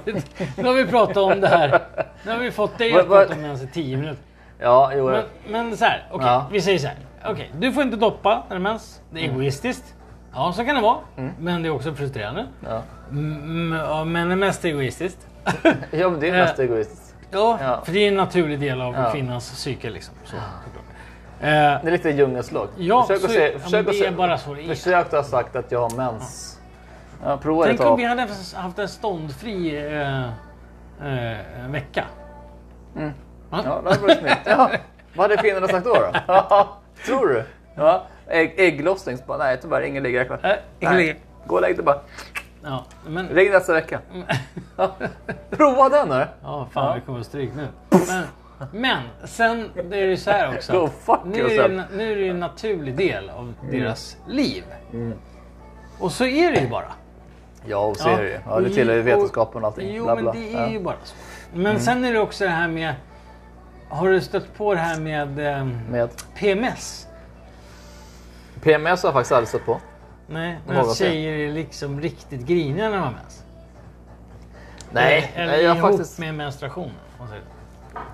S1: nu har vi pratat om det här. Nu har vi fått dig att
S2: Vad- vad-
S1: prata om mens i tio minuter.
S2: Ja, jo.
S1: Men, men så här, okej.
S2: Ja. Mm.
S1: Vi säger så här. Okej, du får inte doppa när det är mens. Det är egoistiskt. Ja, så kan det vara. Men det är också frustrerande.
S2: Ja.
S1: Mm, ja, men det är mest egoistiskt.
S2: ja, men det är
S1: Eh.
S2: mest egoistiskt.
S1: Ja,
S2: Ja.
S1: för det är en naturlig del av
S2: Ja.
S1: kvinnans psyke. Liksom. Så, såklart. Eh,
S2: Det är lite djungelns lag.
S1: Ja,
S2: försök
S1: så-
S2: att se,
S1: ja,
S2: försök
S1: men
S2: att
S1: det
S2: se,
S1: är bara så det är.
S2: Försök att ha sagt att jag har mens. Ja, prova det
S1: Tänk om vi
S2: tag.
S1: hade haft en ståndfri eh, eh, vecka.
S2: Ja, det hade varit snyggt. Ja. Vad hade finnarna sagt då? då? Ja, tror du? Ja. Ägg, ägglossning. Så bara, nej, tyvärr ingen ligger kvar.
S1: Eh,
S2: Nej. Gå och lägg dig bara.
S1: Ja, men,
S2: Ring nästa vecka.
S1: Mm.
S2: Ja. Prova den nu.
S1: ja, fan vi kommer att stryk nu. Men, men sen det är det så här också.
S2: Go fuck
S1: nu, är det,
S2: yourself. Mm.
S1: ju- nu är det ju en naturlig del av deras liv. Och så är det ju bara.
S2: Ja, och så är det ju. Ja, det tillhör ju
S1: Och-
S2: vetenskapen och allting.
S1: Jo,
S2: Bla, bla.
S1: men det
S2: Ja. Mm.
S1: är ju bara så. Men sen är det också det här med... Har du stött på det här med ehm,
S2: Med
S1: PMS?
S2: PMS har jag faktiskt aldrig stött på.
S1: Nej, men
S2: Många
S1: att
S2: säger.
S1: tjejer är liksom riktigt griniga när de har mens.
S2: Nej,
S1: Eller
S2: nej, jag har
S1: ihop
S2: faktiskt...
S1: med menstruationen. om man säger.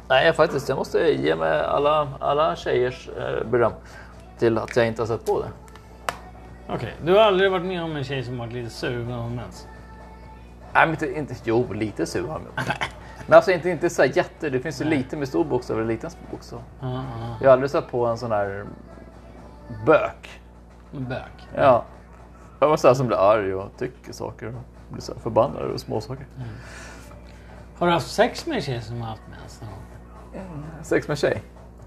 S2: Nej, jag faktiskt. Jag måste ge mig alla, alla tjejers eh, beröm till att jag inte har sett på det.
S1: Okej, du har aldrig varit med om en tjej som varit lite sur när hon har mens?
S2: Nej, men inte, inte, jo, lite sur har jag med. Men alltså inte, inte så här jätte. Det finns ju lite med stor bokstav och liten bokstav.
S1: Ja, ja.
S2: Jag har aldrig sett på en sån här bök.
S1: En Bök.
S2: Ja. Jag var så här som blir arg och tycker saker och blir så här förbannad över småsaker.
S1: Har du haft sex med en tjej som har haft mens? någon gång?
S2: Sex med tjej?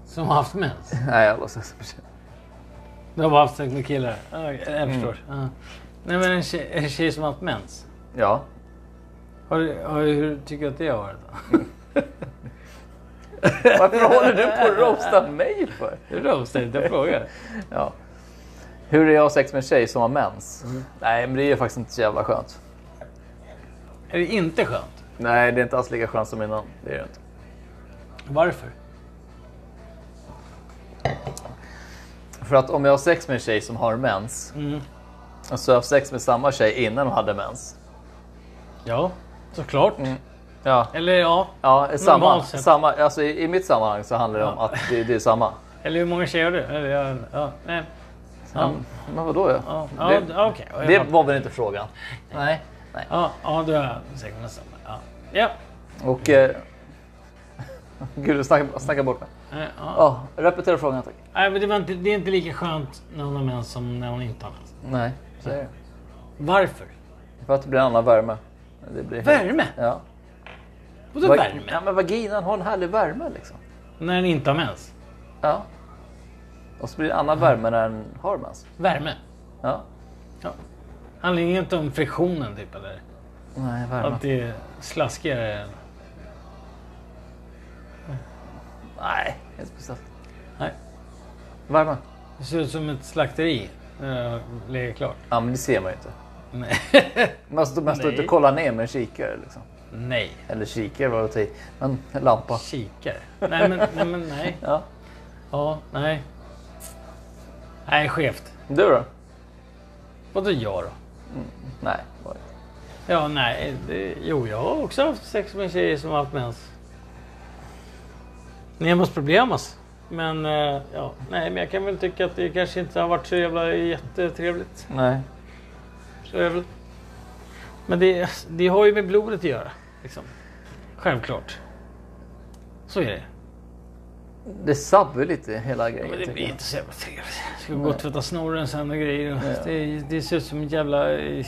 S1: Som har haft mens?
S2: Nej, jag har aldrig sex med tjej.
S1: Du har bara haft sex med killar? Ja, jag förstår. Ja. Nej, men en tjej, en tjej som har haft mens?
S2: Ja.
S1: Har du, har, du- hur tycker du att det har varit? då?
S2: Varför håller du på att roasta mig för?
S1: Det är roastat, jag frågar.
S2: Ja. Hur är jag sex med en tjej som har mens? Nej, men det är faktiskt inte så jävla skönt.
S1: Är det inte skönt?
S2: Nej, det är inte alls lika skönt som innan. Det är det inte.
S1: Varför?
S2: För att om jag har sex med en tjej som har mens och så har jag sex med samma tjej innan hon hade mens.
S1: Ja, såklart.
S2: Ja,
S1: Eller ja,
S2: ja eh, samma,
S1: Normalt sett.
S2: samma, alltså i, i mitt sammanhang så handlar det om att det, det är samma.
S1: eller hur många tjejer har du? Eller, ja, ja, nej. Ja,
S2: Mm. Men vadå? Ja?
S1: ja,
S2: det,
S1: ja, ja, okej. Jag
S2: det
S1: fattar.
S2: var väl inte frågan? Nej. Nej.
S1: Ja, ja, du har säkert nästan. Ja. Ja.
S2: Och... Eh, gud, du snackar, snackar bort mig.
S1: Nej, ja.
S2: Ja, repetera frågan tack.
S1: Nej, men det, var inte, det är inte lika skönt när hon har mens som när hon inte har mens.
S2: Nej, så är det.
S1: Varför?
S2: För att det blir en annan värme. Det blir
S1: Värme?
S2: Ja.
S1: Vadå
S2: Vag-
S1: värme?
S2: Ja, men vaginan har en härlig värme liksom.
S1: När den inte har mens?
S2: Ja. Och så blir det en
S1: Mm.
S2: annan värme när den har mens.
S1: Värme?
S2: Ja.
S1: Ja. Handlar det inte om friktionen typ eller?
S2: Nej, värme.
S1: Att det är slaskigare? än-
S2: Nej, inte speciellt.
S1: Nej.
S2: Värme.
S1: Det ser ut som ett slakteri när det har legat klart.
S2: Ja, men det ser man ju inte.
S1: Nej.
S2: Man står, man står
S1: Nej.
S2: inte och kollar ner med en kikare liksom.
S1: nej.
S2: Eller kikare var det att ta i. Men en lampa.
S1: Kikare? Nej men nej. Men, nej.
S2: Ja.
S1: Ja, nej. Nej, skevt.
S2: Du då?
S1: Vadå jag då?
S2: Nej. det var det inte.
S1: Ja, nej. Det, jo, jag har också haft sex med tjejer som har haft mens. Nemos problemas. Men, eh, ja, nej, men jag kan väl tycka att det kanske inte har varit så jävla jättetrevligt.
S2: Nej.
S1: Så är det väl. Men det, det har ju med blodet att göra. Liksom. Självklart. Så är det.
S2: Det sabbar ju lite hela
S1: Ja,
S2: grejen.
S1: men det
S2: tycker
S1: blir
S2: jag.
S1: inte så jävla trevligt. Ska gå och tvätta snorren sen och grejer. Det, det ser ut som en jävla... eh,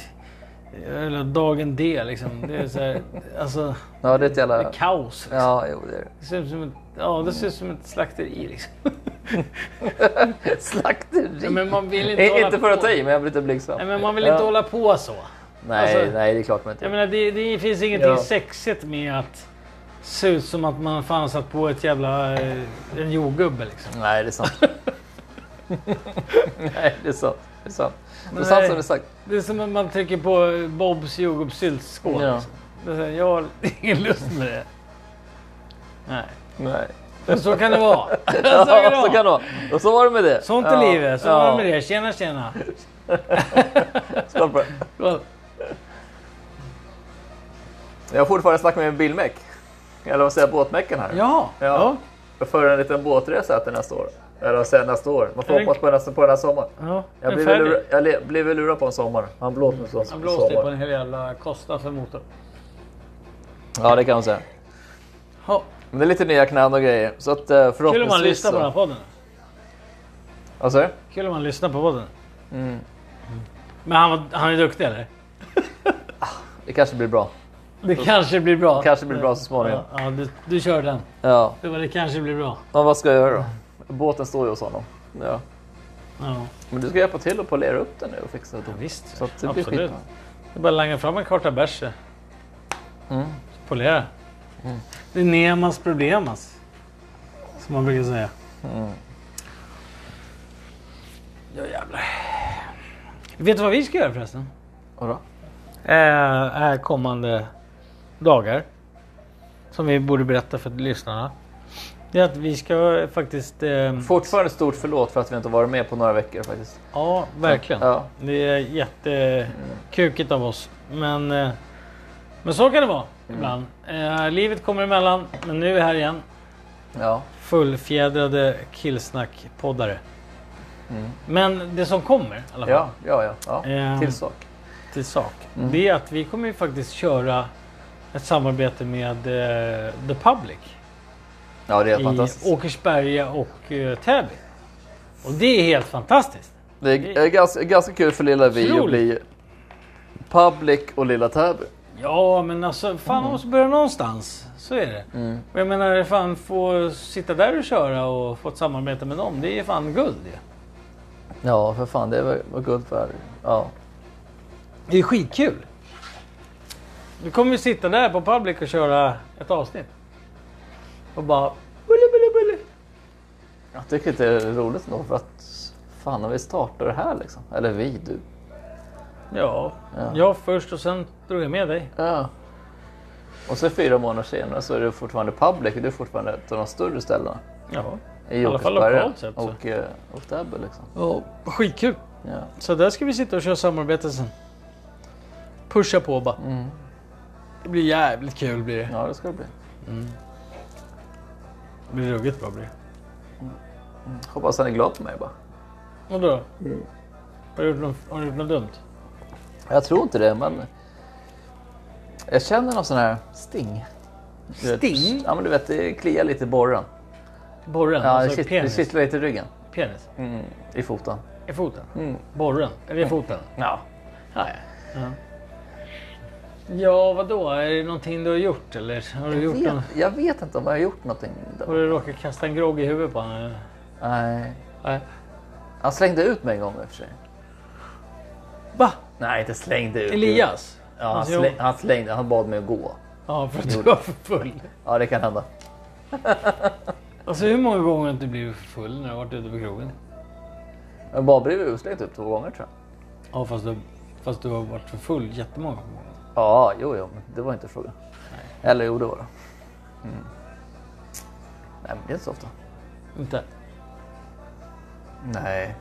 S1: Eller dagen D liksom. Det är så här, alltså,
S2: Ja, det är ett
S1: det
S2: jävla...
S1: är kaos. Liksom.
S2: Ja, jo det är
S1: Det ser ut som ett, ja, det ser ut som ett slakteri liksom.
S2: det. Slakteri!
S1: Ja, men man vill inte
S2: I-
S1: hålla
S2: inte för att
S1: på.
S2: ta i, men jag blir lite blygsam.
S1: Nej, men man vill inte
S2: Ja.
S1: hålla på så.
S2: Nej,
S1: alltså-
S2: nej, det är klart man inte
S1: Jag
S2: vill.
S1: menar, det, det finns ingenting
S2: Ja.
S1: sexigt med att se ut som att man fan satt på ett jävla... eh, En jordgubbe liksom.
S2: Nej, det är sant. nej, det är sant. Det är sant. Det är
S1: Nej.
S2: sant som det är sagt.
S1: Det är som om man trycker på Bobs jordgubbssyltskål.
S2: Ja.
S1: Liksom. Det är så här, Jag har ingen lust med det. Nej.
S2: Nej.
S1: Men så kan det vara. så kan
S2: Ja,
S1: det
S2: så
S1: vara.
S2: kan det vara. Och så var det med det.
S1: Sånt
S2: ja.
S1: är livet. Så var det med det. Tjena tjena.
S2: Skål på det.
S1: Skål.
S2: Jag har fortfarande snack med bilmek. Eller vad säger jag, båtmäcken här.
S1: Ja.
S2: Ja.
S1: ja.
S2: För en liten båtresa till nästa år. Eller vad säger jag, nästa år? Man får
S1: Är det-
S2: hoppas på, nästa, på den här sommaren.
S1: ja.
S2: Jag
S1: En
S2: blev, väl
S1: färdig.
S2: lura, jag le- blev väl lurad på en sommar. Han blåste på en
S1: Han blåste ju på
S2: sommar.
S1: en hel jävla Costa för motor.
S2: Ja, det kan man säga.
S1: Ja.
S2: Men det är lite nya knän och grejer. Så att eh, förhoppningsvis
S1: Kul om man lyssnar på
S2: så-
S1: den här podden.
S2: Vad sa du?
S1: Kul om man lyssnar på podden.
S2: Mm.
S1: Men han, var, han är duktig eller?
S2: Det kanske blir bra.
S1: Det kanske blir bra.
S2: kanske blir bra så småningom.
S1: Ja, ja, du, du kör den.
S2: Ja.
S1: Det, var, det kanske blir bra.
S2: Men vad ska jag göra då? Båten står ju hos honom. Ja.
S1: Ja.
S2: Men du ska hjälpa till och polera upp den nu och fixa det.
S1: Visst,
S2: Så att det blir
S1: absolut.
S2: skitbra.
S1: Det är bara att langa fram en karta bärs. Mm.
S2: Mm.
S1: Polera. Det är Nemas problemas. Som man brukar säga.
S2: Mm.
S1: Ja jävlar. Vet du vad vi ska göra förresten?
S2: Vadå?
S1: Eh, eh, kommande dagar. Som vi borde berätta för lyssnarna. Det är att vi ska faktiskt... ehm,
S2: Fortfarande stort förlåt för att vi inte varit med på några veckor faktiskt.
S1: Ja, verkligen.
S2: Ja.
S1: Det är jättekukigt av oss. Men, eh, men så kan det vara
S2: Mm.
S1: ibland. Eh, livet kommer emellan, men nu är vi här igen.
S2: Ja.
S1: Fullfjädrade killsnack-poddare. Men det som kommer i alla fall,
S2: Ja, ja, ja. Mm. ja.
S1: Ehm.
S2: Till sak.
S1: till sak,
S2: Mm.
S1: det är att vi kommer ju faktiskt köra ett samarbete med eh, The Public
S2: Ja, det är
S1: i
S2: fantastiskt.
S1: Åkersberga och eh, Täby. Och det är helt fantastiskt.
S2: Det är, är ganska, ganska kul för lilla vi att bli public och lilla Täby.
S1: Ja, men alltså fan man måste börja någonstans. Så är det.
S2: Mm.
S1: Och jag menar, fan få sitta där och köra och få ett samarbete med dem, det är fan guld ju.
S2: Ja, för fan. Det var, var guld för... Ja.
S1: Det är skitkul. Nu kommer vi sitta där på Public och köra ett avsnitt. Och bara... Bulle, bulle, bulle.
S2: Jag tycker inte det är roligt nog för att fan har vi startat det här liksom? Eller vi, du.
S1: Ja, jag först och sen drog jag med dig.
S2: Ja. Och så fyra månader senare så är det fortfarande public, det är fortfarande ett av de större ställena.
S1: Ja.
S2: I
S1: alla fall
S2: Åkersberga
S1: lokalt sett, så.
S2: Och, eh, och Täby liksom.
S1: ja. Skitkul.
S2: Ja.
S1: Så där ska vi sitta och köra samarbete sen. Pusha på bara. Det blir jävligt kul blir det.
S2: ja, det ska det bli.
S1: Det blir ruggigt bra blir det.
S2: Hoppas han är glad på mig bara.
S1: Vadå? Har, du gjort något, har du gjort något dumt?
S2: Jag tror inte det, men jag känner någon sån här sting. Du vet-
S1: Sting?
S2: Ja, men du vet, det kliar lite i borren.
S1: Borren?
S2: Ja,
S1: alltså
S2: det, kitt, det
S1: penis?
S2: kittlar lite i ryggen.
S1: penis?
S2: Mm, I foten.
S1: I foten? Borren? Eller i foten?
S2: Ja.
S1: Ja, ja. Ja, vadå? Är det någonting du har gjort eller? Har du, gjort någon,
S2: Vet, jag vet inte om jag har gjort någonting. där.
S1: har du råkat kasta en grogg i huvudet på honom? eller?
S2: Nej.
S1: Nej.
S2: Han slängde ut mig en gång i och för sig.
S1: Va?
S2: Nej, inte slängde ut.
S1: Elias?
S2: Ja, han,
S1: Alltså, jag-
S2: släng, han slängde, han bad mig att gå.
S1: Ja, för att du var för full.
S2: Ja, det kan hända.
S1: Alltså hur många gånger har du inte blivit för full när du har varit ute på krogen?
S2: Jag bara blev utslängd typ två gånger tror jag.
S1: Ja, fast du, fast du har varit för full jättemånga gånger.
S2: Ja, jo, jo, men det var inte frågan. Eller jo, det var det. Mm. Nej, men det är inte så ofta.
S1: Inte?
S2: Nej.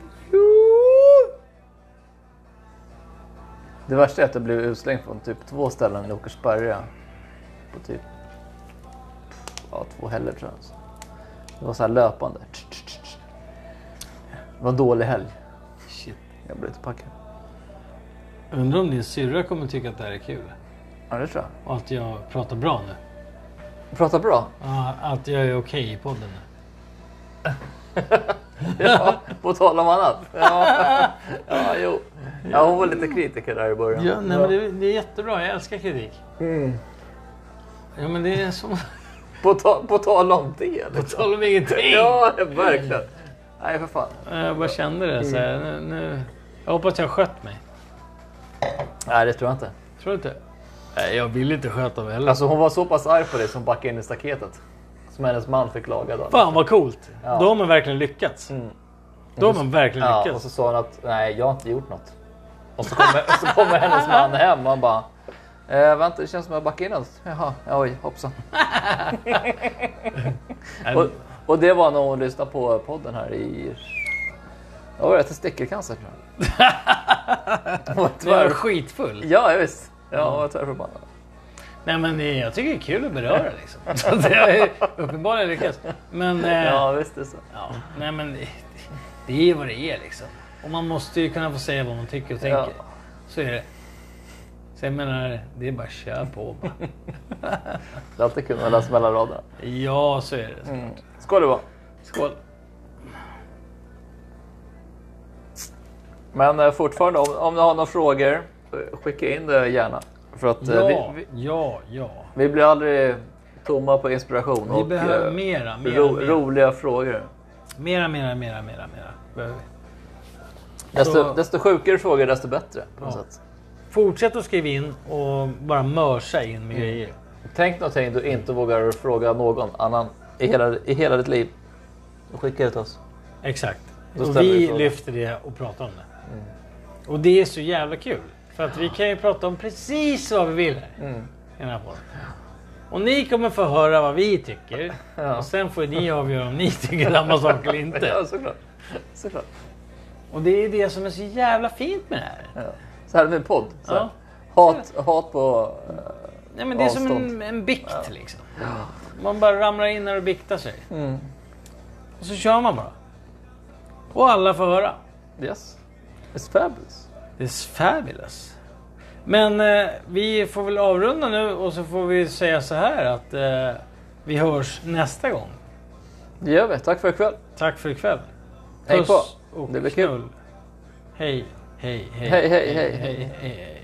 S2: Det värsta är att jag blev utslängd från typ två ställen i Åkersberga. På typ ja, två helger tror jag. alltså. Det var så här löpande. Det var en dålig helg.
S1: Shit.
S2: Jag blev inte packad.
S1: Undrar om din syrra kommer tycka att det här är kul?
S2: Ja, det tror jag.
S1: Och att jag pratar bra nu?
S2: Prata bra.
S1: Ja, Att jag är okej i podden nu?
S2: Ja, på tal om annat. Ja, ja jo. Ja, hon var lite kritiker där i början.
S1: Ja, nej, men det, det är jättebra. Jag älskar kritik. Ja, men det är som...
S2: På, ta, på tal om det.
S1: På
S2: Liksom.
S1: tal om ingenting!
S2: Ja, verkligen. Nej, för fan.
S1: Jag bara kände det. Så här, nu, nu. Jag hoppas jag skött mig.
S2: Nej, det tror jag inte.
S1: Tror du inte? Nej, jag vill inte sköta mig heller.
S2: Alltså hon var så pass arg på dig som backade in i staketet. Som hennes man fick laga då.
S1: Fan vad coolt!
S2: Ja. Mm.
S1: Då har man verkligen lyckats. Då har man verkligen
S2: Ja, och
S1: lyckats.
S2: så sa hon att nej, jag har inte gjort något. Och så kommer, så kommer hennes man hem och han bara. Eh, vänta, det känns som att jag backade in något. Jaha, ja, oj, hoppsan.
S1: Nej,
S2: Och, och det var när hon lyssnade på podden här i... Vad var det? Testikelcancer tror jag. Hon var
S1: Nu är
S2: tvär...
S1: jag skitfull.
S2: Ja, ja, visst. Ja, hon var tvärförbannad.
S1: Nej, men det- jag tycker det är kul att beröra liksom. Så det har ju uppenbarligen lyckats. Men, eh,
S2: Ja, visst det är så.
S1: ja, nej, men det, det är vad det är liksom. Och man måste ju kunna få säga vad man tycker och tänker.
S2: Ja.
S1: Så är det. Så jag menar, det är bara att köra på bara.
S2: Det är alltid kul att läsa mellan raderna.
S1: Ja, så är
S2: Mm.
S1: det.
S2: Skål det var.
S1: Skål!
S2: Men eh, fortfarande, om, om ni har några frågor, eh, skicka in det gärna. För att eh,
S1: Ja,
S2: vi, vi,
S1: ja, ja.
S2: vi blir aldrig tomma på inspiration
S1: Vi
S2: och
S1: behöver
S2: eh,
S1: mera, mera,
S2: ro,
S1: mera.
S2: roliga frågor.
S1: Mera, mera, mera, mera, mera. Behöver vi.
S2: Desto,
S1: Så-
S2: desto sjukare frågor, desto bättre. På något
S1: Ja.
S2: sätt.
S1: Fortsätt att skriva in och bara mörsa in
S2: Mm.
S1: med grejer.
S2: Tänk någonting du inte vågar fråga någon annan i hela, i hela ditt liv. Och skicka det till oss.
S1: Exakt.
S2: Då
S1: och
S2: ställer vi
S1: vi
S2: frågan. Mm.
S1: lyfter det och pratar om det. Och det är så jävla kul. För att vi kan ju prata om precis vad vi vill här.
S2: Mm.
S1: I den här podden. Och ni kommer få höra vad vi tycker.
S2: Ja.
S1: Och sen får ni avgöra om ni tycker samma sak eller inte.
S2: Ja, såklart. såklart.
S1: Och det är det som är så jävla fint med det här.
S2: Ja. Så här med en podd. Så här.
S1: Ja.
S2: Hat, hat på... eh,
S1: Nej, men det är som en,
S2: Avstånd.
S1: en bikt liksom. Man bara ramlar in när och biktar sig.
S2: Mm.
S1: Och så kör man bara. Och alla får höra.
S2: yes. It's fabulous.
S1: Det är fabulous. Men eh, vi får väl avrunda nu och så får vi säga så här att eh, vi hörs nästa gång.
S2: Det gör vi. Tack för ikväll.
S1: Tack för ikväll.
S2: Hej på.
S1: och
S2: Det blir kul.
S1: knull. Hej, hej, hej.
S2: Hej, hej, hej,
S1: hej, hej, hej.